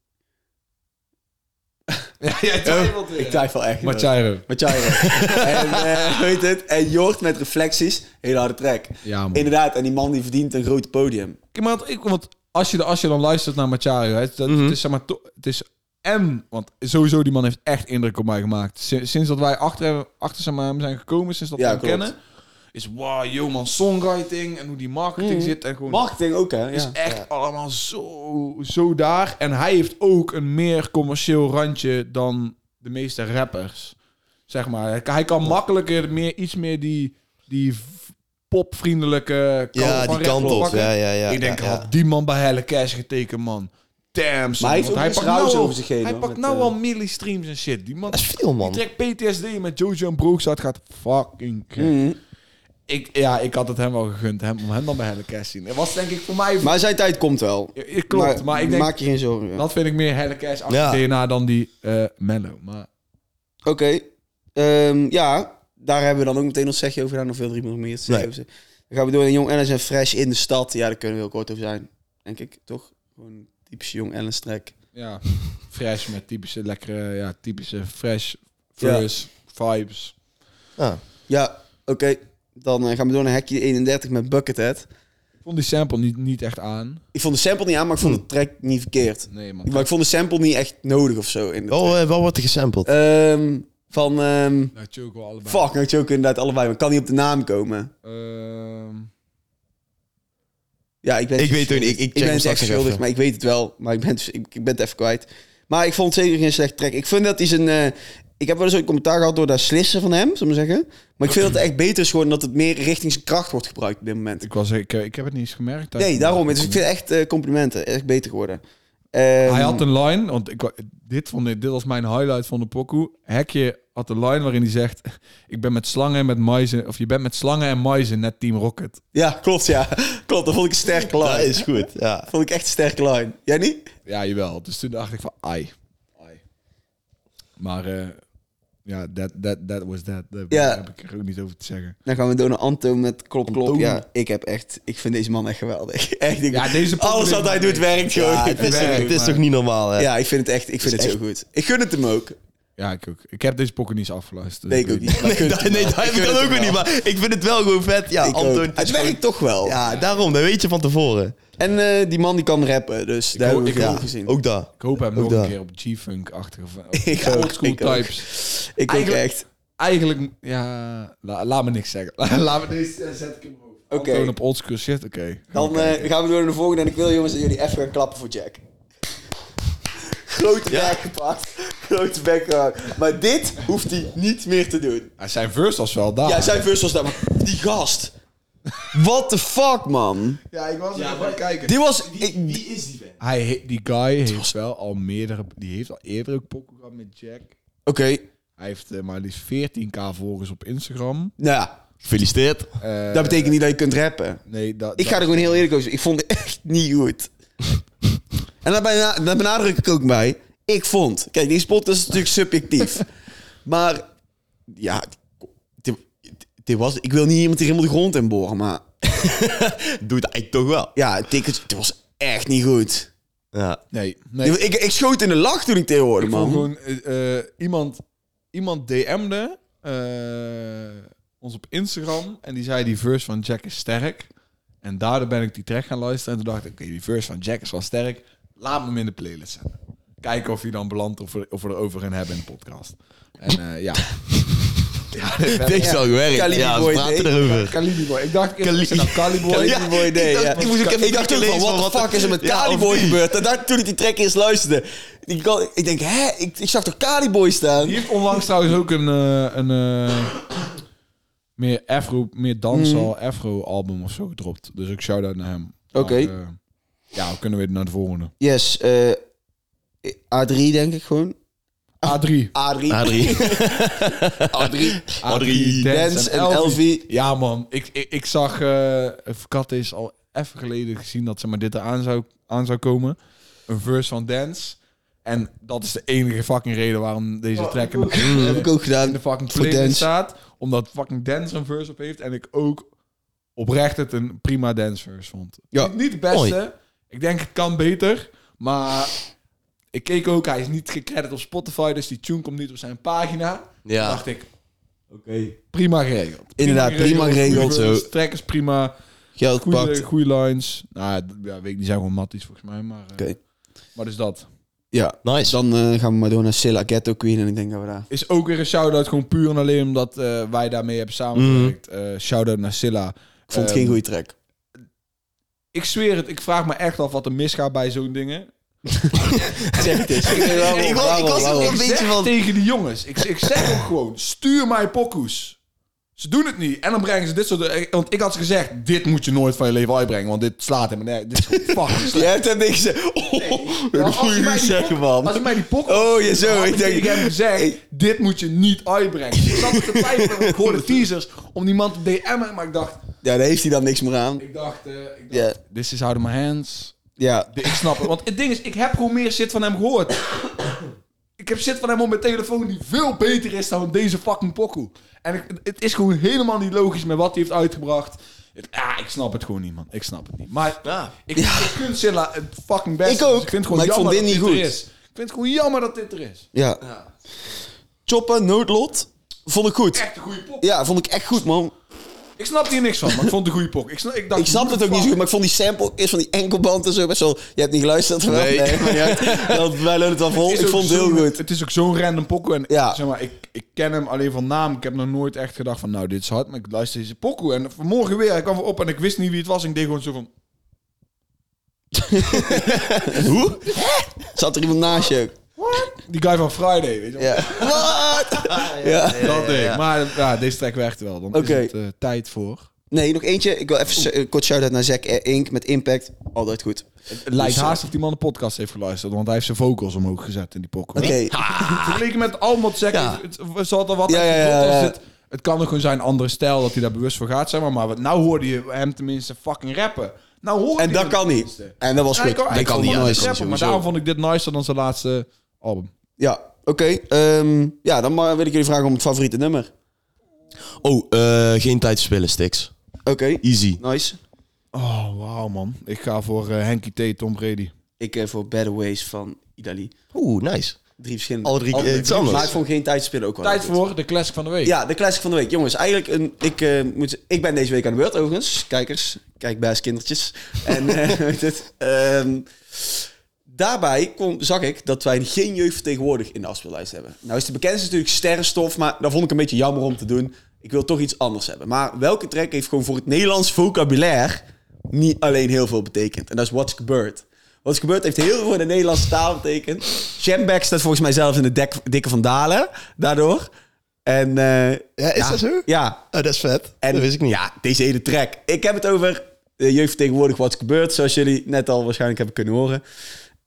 [laughs] ja, jij twijfelt weer.
Oh, Ik twijfel echt.
Machairo.
Met Jairo. en eh, weet het? En Jort met reflecties. Hele harde track.
Ja, man.
Inderdaad, en die man die verdient een groot podium.
Kijk, maar want, ik, want als, je, de- als je dan luistert naar Machario, het, dat-
Mhm.
het is zeg maar... to- Het is en, want sowieso die man heeft echt indruk op mij gemaakt. Sin- Sinds dat wij achter, hem- achter zeg maar, hem zijn gekomen, sinds dat
Ja,
we hem
klopt.
kennen... is wow, yo man, songwriting en hoe die marketing
Mhm.
zit en gewoon...
Marketing ook, hè?
is
Ja.
echt allemaal zo, zo daar. En hij heeft ook een meer commercieel randje dan de meeste rappers. Zeg maar. Hij kan makkelijker meer, iets meer die, die v- popvriendelijke kant
Ja,
van
die kant
rap
op.
pakken.
Ja, ja, ja.
Ik denk,
ja, ja.
had die man bij Helle Cash getekend, man. Damn, son,
Maar hij heeft
want
ook iets rauws over zich heen,
Hij
hoor,
pakt
met,
nou
eh,
al millistreams en shit. Die man
Dat is veel, man. Hmm.
die trekt PTSD met Jojo en Brooks uit gaat fucking gek.
Mhm.
Ik, ja, ik had het hem wel gegund hem, om hem dan bij Helle Cash te zien. Het was denk ik voor mij...
Maar zijn tijd komt wel.
Ja, ja, Klopt, maar, ik denk...
Maak je geen zorgen.
Dat vind ik meer Helle Cash achter
Ja.
DNA dan die eh Mello. Maar
Oké. Ehm, ja, daar hebben we dan ook meteen ons zegje over gedaan. Of wil er iemand nog meer te
Nee.
zeggen? over zeggen? Dan gaan we door naar Jong Ellens en Fresh in de stad. Ja, daar kunnen we heel kort over zijn. Denk ik, toch? Gewoon typische Jong Ellens track.
ja, fresh met typische lekkere, ja, typische fresh verse vibes.
Ja.
Ja, oké. Dan eh, gaan we door naar Hekje 31 met Buckethead.
Ik vond die sample niet, niet echt aan.
Ik vond de sample niet aan, maar ik
Hm.
vond de track niet verkeerd.
Nee, man.
Maar ik vond de sample niet echt nodig of zo. In de
Oh,
Wel, eh, wel wordt er gesampled.
eh.
track. Ehm, van... ehm
Nou, choke wel allebei.
fuck, nou choke inderdaad allebei. Maar ik kan niet op de naam komen.
Ehm,
Ja, ik ben
ik weet het ook niet. Ik, ik check
Eh, Ik ben
hem
het
straks nog
echt schuldig,
even.
maar ik weet het wel. Maar ik ben, het- ik, ik ben het even kwijt. Maar ik vond het zeker geen slecht track. Ik vind dat hij zijn... eh, ik heb wel eens een commentaar gehad door dat slissen van hem, zullen we zeggen. Maar ik vind dat het echt beter is gewoon dat het meer richting zijn kracht wordt gebruikt op dit moment.
ik, was, ik, ik heb het niet eens gemerkt.
Nee, daarom. Dus ik
vind...
vind echt eh, complimenten. Echt beter geworden.
Hij had een line, want ik, wa- dit, vond ik, dit was mijn highlight van de pokoe. Hekje had een line waarin hij zegt... [laughs] Ik ben met slangen en met muizen... Of je bent met slangen en muizen net Team Rocket.
Ja, klopt,
[laughs]
ja. Klopt, dat vond ik een sterke line.
Dat is goed, ja.
vond ik echt een sterke line. Jij niet?
Ja, jawel. Dus toen dacht ik van, ai. ai. Maar eh, ja, that, that, that was that. Daar
Ja.
heb ik er ook niet over te zeggen.
Dan gaan we door naar Anto met klop, klop.
Antoon.
Ja, ik heb echt... Ik vind deze man echt geweldig. [laughs] Echt, ik,
Ja, deze
Alles wat hij doet werkt gewoon.
[laughs]
Ja, het is, toch, het is toch niet normaal, hè?
ja, ik vind het echt... Ik vind het zo
echt-
goed. Ik gun het hem ook.
Ja, ik ook. Ik heb deze pokken niet eens afgeluisterd.
Nee, ik ook niet. Maar ik gun [laughs]
Nee,
het
dat,
hem
[laughs] nee, dat heb ik
wel. gun
dan
het
ook
hem
weer niet,
wel.
maar ik vind het wel gewoon vet. Ja,
Ik
Anton,
ook.
het
Het
is gewoon-
werkt toch wel.
Ja, daarom, dat weet je van tevoren.
En eh, die man die kan rappen, dus daar
hoop-
heb ik
ik
ook
hoop-
gezien.
Ook daar.
Ik hoop hem
Ook
nog
daar.
een keer op G-Funk-achtige...
[laughs] Ik ook,
Oldschool
ik ook.
types.
ik ook
Eigenlijk-
echt.
Eigenlijk, ja... la- laat me niks zeggen. [laughs] laat me deze eh, zet ik hem over.
Oké.
Gewoon op oldschool shit, oké.
Dan eh, gaan we door naar de volgende. En ik wil jongens dat jullie even gaan klappen voor Jack. Grote bek gepakt. Grote bek gehakt. Maar dit hoeft hij niet meer te doen.
Ja, Zijn verse was wel daar.
Ja, zijn first was daar. maar Die gast. What the fuck, man?
Ja, ik was even kijken.
Dit was... ik-
Hij, he- die guy heeft wel al meerdere... Die heeft al eerder ook pokken gehad met Jack.
Oké, nou
Hij heeft eh, maar liefst 14k volgers op Instagram.
nou ja.
Gefeliciteerd.
Eh,
Dat betekent niet dat je kunt rappen.
Nee, dat...
Ik ga er gewoon heel eerlijk over zijn. Ik vond het echt niet goed. en daar, bijna, daar benadruk ik ook bij. Ik vond... Kijk, die spot is natuurlijk subjectief. maar ja... Dit, dit was, ik wil niet iemand die helemaal de grond in boren, maar...
Doe het eigenlijk toch wel.
Ja, tickets, het was echt niet goed.
Ja.
Nee, nee. Ik
Ik, ik schoot in de lach toen ik dit hoorde,
vond
man.
gewoon... eh, eh, iemand, iemand DM'de eh, ons op Instagram. En die zei die verse van Jack is sterk. En daardoor ben ik die track gaan luisteren. En toen dacht ik, oké, die verse van Jack is wel sterk. Laat me hem in de playlist zetten. Kijken of hij dan belandt of we, of we er over gaan hebben in de podcast. En eh,
[laughs]
ja. ja,
Het heeft wel gewerkt.
Calibi
Ja, we
Boy
praten
Day.
erover.
Caliboy. Ik dacht eerst,
Cali-
ik zei nou, Caliboy.
[laughs] Ja,
mooi idee,
ik dacht-
ja.
Ik, moest ook even
Ik dacht
denken
ook
van,
van,
wat de
wat-
fuck is er met
Ja, of
Caliboy
die?
gebeurd? En daar, toen ik die track eens luisterde, ik, kan- ik denk, hè, ik, ik zag toch Caliboy staan?
Die heeft onlangs trouwens ook een, eh, een eh, meer afro, meer dansal afro album of zo gedropt. Dus ik shout-out naar hem.
Mm. Oké.
Maar, eh, ja, we kunnen weer naar de volgende.
Yes, eh, A3 denk ik gewoon.
A3.
A3. [laughs]
Adrie.
A3.
Adrie.
Dance en LV.
Ja man, ik, ik, ik zag... eh Kat is al even geleden gezien dat ze maar dit eraan zou, aan zou komen. Een verse van Dance. En dat is de enige fucking reden waarom deze
Oh.
track... in de-
[laughs]
[laughs]
Heb ik ook
in
gedaan.
de fucking
Voor
playlist
dance.
staat. Omdat fucking dance een verse op heeft. En ik ook oprecht het een prima dance verse vond.
Ja.
Niet, niet de beste. Ik denk het kan beter. Maar ik keek ook. Hij is niet gecredit op Spotify. Dus die tune komt niet op zijn pagina. Toen
Ja.
dacht ik. Oké. Prima geregeld.
Inderdaad, prima geregeld.
goede
Zo.
verse, Track is prima.
Geld
Goede,
pakt.
goede lines. Nou, d- ja, weet ik, die zijn gewoon matties volgens mij. Maar, eh,
Oké.
maar dus dat.
Ja,
Nice.
dan eh, gaan we maar door naar Silla Ghetto Queen en ik denk dat we daar...
Is ook weer een shout-out. Gewoon puur en alleen omdat eh, wij daarmee hebben samengewerkt. Eh, shout-out naar Silla.
Ik vond het
Ehm,
geen goede track.
Ik zweer het, ik vraag me echt af wat er misgaat bij zo'n [laughs] dingen.
[laughs] Zeg het eens. Ik,
Ik was- ik was ook een
Ik
beetje
zeg
van...
tegen die jongens, ik, ik zeg ook gewoon, stuur mij pokoes. Ze doen het niet. En dan brengen ze dit soort... eh, Want ik had ze gezegd, dit moet je nooit van je leven uitbrengen. Want dit slaat hem. Nee, dit is gewoon [laughs] fucking
Jij
slecht.
hebt hem niks gezegd. Oh,
Maar
dat
als
moet
ze
je
mij
niet
die
zeggen,
pok-
man.
Als ze mij die pokoes...
Oh, ja, zo. Ik denk...
Ik heb gezegd, dit moet je niet uitbrengen. Ik zat te twijfelen, want ik
[laughs]
hoorde teasers om die man te DM'en. Maar ik dacht,
Ja, daar heeft hij dan niks meer aan.
ik dacht, eh, ik dacht
Ja,
this is out of my hands.
ja.
Ik snap het. Want het ding is, ik heb gewoon meer shit van hem gehoord. Ik heb shit van hem op mijn telefoon die veel beter is dan deze fucking pokoe. En ik, het is gewoon helemaal niet logisch met wat hij heeft uitgebracht. Het, ah, ik snap het gewoon niet, man. Ik snap het niet. Maar
Ja.
ik, ik vind Silla het fucking best.
Ik ook, maar ik vond dit niet goed.
er is. Ik vind het gewoon jammer dat dit er is.
ja. Choppa, noodlot. Vond ik goed.
Echt een goede pok.
Ja, vond ik echt goed, man.
Ik snap hier niks van, maar ik vond het een goede pok. Ik, sna- ik, dacht,
Ik snap het ook niet zo goed, maar ik vond die sample eerst van die enkelband en zo best wel... Je hebt niet geluisterd, wel?
Nee.
[laughs] maar niet uit. Dat- Wij leunen het wel vol.
is
Oh, Ik
ook
vond het heel
zo'n-
goed.
Het is ook zo'n random pokoe. En
Ja.
zeg maar, ik, ik ken hem alleen van naam. Ik heb nog nooit echt gedacht van, nou, dit is hard. Maar ik luister deze pokoe. En vanmorgen weer, hij kwam weer op en ik wist niet wie het was. En ik deed gewoon zo van...
Hoe? Zat er iemand naast je ook?
Die guy van Friday, weet je wel.
Ja. Wat? Ja.
Dat deed ik. Maar ja, deze track werkt wel. Dan
Oké. Dus,
is het eh, tijd voor...
Nee, nog eentje. Ik wil even eh, kort shout-out naar Zack Ink met Impact. Altijd goed.
Lijkt haast of die man de podcast heeft geluisterd, want hij heeft zijn vocals omhoog gezet in die pokken.
eh, Oké,
Vergeleken met Almond zeg
Ja.
het, het zal er wat
Ja,
uit
ja,
die
ja,
podcast
ja.
zitten. Het kan ook gewoon zijn andere stijl dat hij daar bewust voor gaat zijn, maar, maar wat, nou hoorde je hem tenminste fucking rappen. Nou hoorde
en
je
dat
hem
kan niet.
tenminste.
En dat was
Ja, ik
goed.
kan, ik
kan
vond
niet,
hem
ja,
nooit
dat kan
rappen, maar
sowieso.
daarom vond ik dit nicer dan zijn laatste album.
Ja, oké. ehm, ja, dan ma- wil ik jullie vragen om het favoriete nummer.
Oh, eh, geen tijd te spillen, Stix.
Oké,
Easy.
nice.
Oh, wauw man. Ik ga voor eh, Henky T, Tom Brady.
Ik eh, voor Better Ways van Idali.
Oeh, nice.
Drie verschillende.
Alle drie, eh, iets anders.
Maar ik vond geen tijd spelen ook wel.
Tijd
goed.
voor de classic van de week.
Ja, de classic van de week. Jongens, eigenlijk een... Ik, eh, moet, ik ben deze week aan de beurt overigens. Kijkers, kijk bij eens kindertjes. en eh, [laughs] weet het, ehm, daarbij kon, zag ik dat wij geen jeugdvertegenwoordiger in de afspeellijst hebben. Nou is de bekendste natuurlijk Sterrenstof, maar dat vond ik een beetje jammer om te doen. Ik wil toch iets anders hebben. Maar welke track heeft gewoon voor het Nederlands vocabulaire niet alleen heel veel betekend? En dat is What's Gebeurd. Wat is gebeurd heeft heel veel in de Nederlandse taal betekend. Jamback staat volgens mij zelf in de dek, dikke van Dalen daardoor. En eh,
Ja, is dat zo? [laughs]
ja,
Oh, dat is vet.
en
dat wist ik niet.
Ja, deze hele track. Ik heb het over de jeugd tegenwoordig wat is gebeurd, zoals jullie net al waarschijnlijk hebben kunnen horen.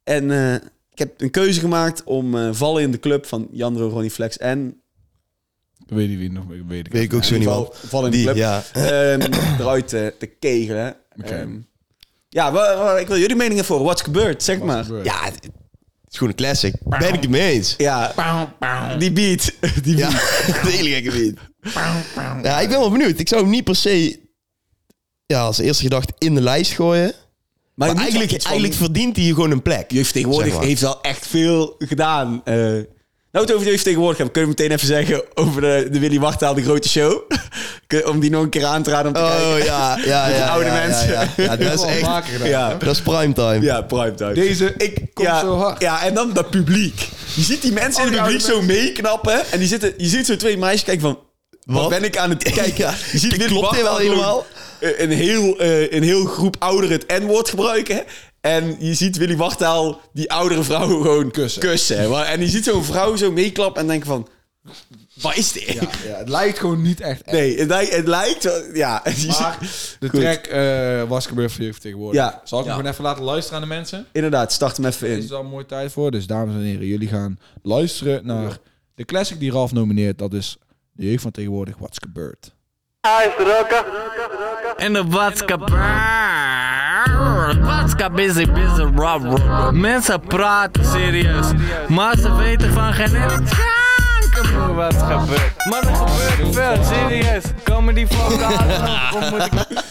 En eh, ik heb een keuze gemaakt om eh, Vallen in de Club van Jandro, Ronnie Flex en
Ik weet niet wie nog, ik weet ik
Weet ik ook zo niet, man.
Val- Vallen in de
Die,
Club
ja.
ehm, [coughs] eruit eh, te kegelen.
Oké.
Ehm, ja, wa- wa- ik wil jullie meningen voor. Wat is gebeurd? Zeg
is
maar.
gebeurd?
Ja,
Het is gewoon een classic. Ben ik het mee eens?
ja, die beat. [laughs] Die
Ja, [laughs]
beat.
de hele gekke beat. Ja, ik ben wel benieuwd. Ik zou hem niet per se ja, als eerste gedacht in de lijst gooien.
Maar,
Maar eigenlijk, eigenlijk verdient hij hier gewoon een plek.
Jeugd tegenwoordig
zeg maar.
heeft al echt veel gedaan. Eh, nou, het over jeugd tegenwoordig hebben, kunnen we meteen even zeggen over eh, de, de Willy Wachtaal, de grote show. [laughs] Kun- om die nog een keer aan te raden om te
Oh
kijken.
ja, ja, ja.
de [laughs] oude
ja,
mensen.
Ja, ja. Ja, dat is echt...
Ja,
Dat is primetime.
ja primetime.
Deze
ik,
komt
ja,
zo hard.
Ja, en dan dat publiek. Je ziet die mensen in
die
het publiek
oude
zo meeknappen. En die zitten, je ziet zo twee meisjes kijken van... Wat,
Wat?
ben ik aan het kijken?
Ja,
je ziet Willy
klopt dit wel
Wachtaal gewoon,
helemaal?
eh, Een heel, eh, een heel groep ouderen het N-woord gebruiken. En je ziet Willy Wachtaal die oudere vrouw gewoon kussen. Maar- En je ziet zo'n vrouw zo meeklappen en denken van... Wat is dit?
Ja, ja, het lijkt gewoon niet echt. [laughs] echt.
Nee, het lijkt... Het lijkt wel- ja. [laughs] Je
Maar
ziet-
de
Goed.
track eh, was gebeurd voor jeugd tegenwoordig.
Ja.
Zal ik hem
Ja.
gewoon even laten luisteren aan de mensen?
Inderdaad, start hem even
Er is
in.
al een mooie tijd voor. Dus dames en heren, jullie gaan luisteren naar de classic die Ralf nomineert. Dat is de jeugd van tegenwoordig, What's Gebeurd.
in de watska Watska busy, busy, rap, rap. Mensen praten serieus, maar ze weten van geen enkel wat gebeurt. Maar er gebeurt veel, serieus. Komen die vocalen nog? [laughs] Of moet ik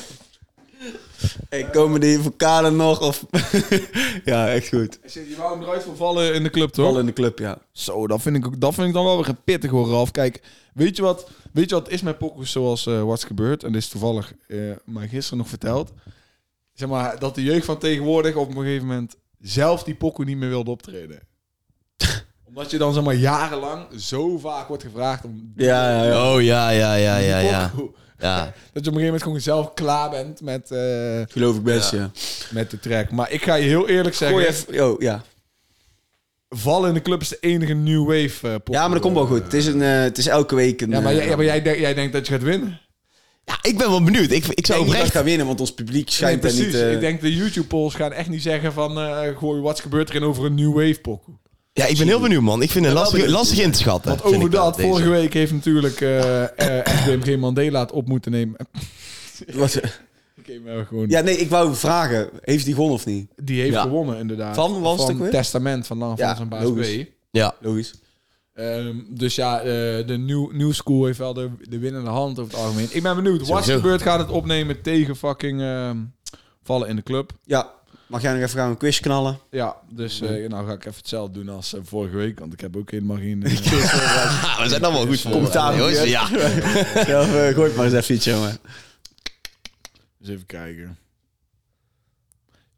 Hey, komen die vocalen nog? Of... [laughs] ja, echt goed.
Je wou hem eruit voor vallen in de club, toch?
Al in de club, ja.
Zo, dat vind, ik, ook- dat vind ik dan wel weer een pittig hoor, Ralf. Kijk, weet je wat, weet je wat is met pokkers zoals eh What's Gebeurd? En dit is toevallig eh mij gisteren nog verteld. Zeg maar, dat de jeugd van tegenwoordig op een gegeven moment zelf die pokoe niet meer wilde
[laughs]
optreden. Omdat je dan zeg maar jarenlang zo vaak wordt gevraagd om die
Ja, ja, ja.
Oh ja, ja, ja, ja, ja.
pokoe.
ja.
Dat je op een gegeven moment gewoon zelf klaar bent met, eh,
Geloof ik best, ja.
met de track. Maar ik ga je heel eerlijk zeggen,
Gooi even... Oh, ja.
Vallen in de Club is de enige New Wave eh pokoe.
Ja, maar dat komt wel goed. Het is, een, eh, het is elke week een...
Ja, maar,
eh,
jij, ja, maar jij, denkt- jij denkt dat je gaat winnen?
Ja, ik ben wel benieuwd. Ik, ik
Ik
zou
denk niet dat
oprecht...
ik ga winnen, want ons publiek
Nee,
schijnt daar
precies.
niet... eh,
Ik denk de YouTube-polls gaan echt niet zeggen van... eh gooi, wat gebeurt er in over een New Wave pokoe?
Ja, ik ben heel benieuwd, man. Ik vind het lastig, lastig in te schatten.
Want
vind
over
ik wel,
dat,
deze.
vorige week heeft natuurlijk eh eh FDMG Mandela het op moeten nemen. [laughs]
wat-
Ik heb hem gewoon,
ja, nee, ik wou vragen. Heeft die gewonnen of niet?
Die heeft
Ja.
gewonnen, inderdaad.
Van was het ook
Van
weer?
Testament van Lange
Ja,
Frans en Baas
logisch.
B.
Ja. [laughs]
Logisch.
Ehm, dus ja, eh, de new, new School heeft wel de, de winnende hand over het algemeen. Ik ben benieuwd. Wat
Sowieso.
gebeurt gaat het opnemen tegen fucking ehm, vallen in de club.
Ja. Mag jij nog even gaan een
[laughs]
quiz knallen?
Ja, dus eh, nou ga ik even hetzelfde doen als eh, vorige week. Want ik heb ook helemaal geen...
[laughs]
eh,
Ah, we zijn dan wel goed voor.
Commentaar.
jongens. Ja.
Ja, of, eh, gooi het maar eens even iets, jongen.
Eens even kijken.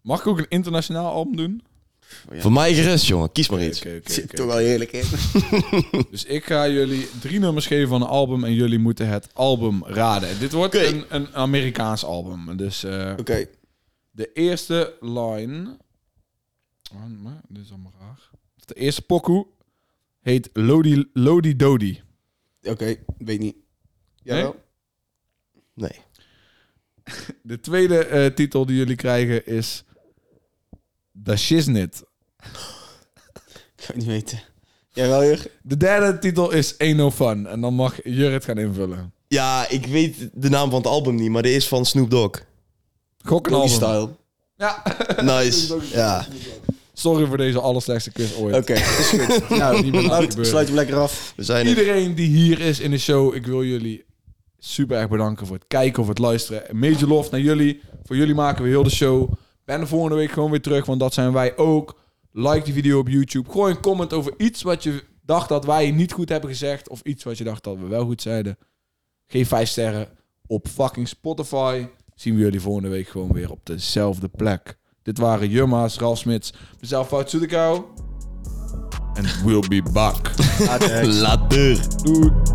Mag ik ook een internationaal album doen?
Voor mij gerust, jongen. Kies maar iets.
Oké, oké,
Zit
oké.
toch wel heerlijk in.
Dus ik ga jullie drie nummers geven van een album en jullie moeten het album raden. En Dit wordt
Oké.
een, een Amerikaans album. Dus eh,
Oké.
de eerste line... Oh, maar, dit is allemaal raar. De eerste pokoe heet Lodi, Lodi Dodi.
Oké, weet niet.
Jawel?
Nee.
De tweede eh, titel die jullie krijgen is Dat shiznit.
Ik kan het niet weten. Jij wel, Jur?
De derde titel is Ain't No Fun. En dan mag Jurrit gaan invullen.
Ja, ik weet de naam van het album niet, maar die is van Snoop Dogg.
Gok een
Doggy
album.
style. [laughs]
Nice. Ja.
Sorry voor deze allerslechtste quiz ooit.
Oké, is
[laughs]
goed. nou,
Die moet niet
Art,
gebeuren.
sluit hem lekker af.
We zijn er.
Iedereen die hier is in de show, ik wil jullie super erg bedanken voor het kijken of het luisteren. En Major lof naar jullie. Voor jullie maken we heel de show. Ben de volgende week gewoon weer terug, want dat zijn wij ook. Like die video op YouTube. Gooi een comment over iets wat je dacht dat wij niet goed hebben gezegd. Of iets wat je dacht dat we wel goed zeiden. Geef 5 sterren op fucking Spotify. Zien we jullie volgende week gewoon weer op dezelfde plek. Dit waren Jumma's, Ralf Smits, mezelf Fout Soedekou. En we'll be back.
Later.
Doei.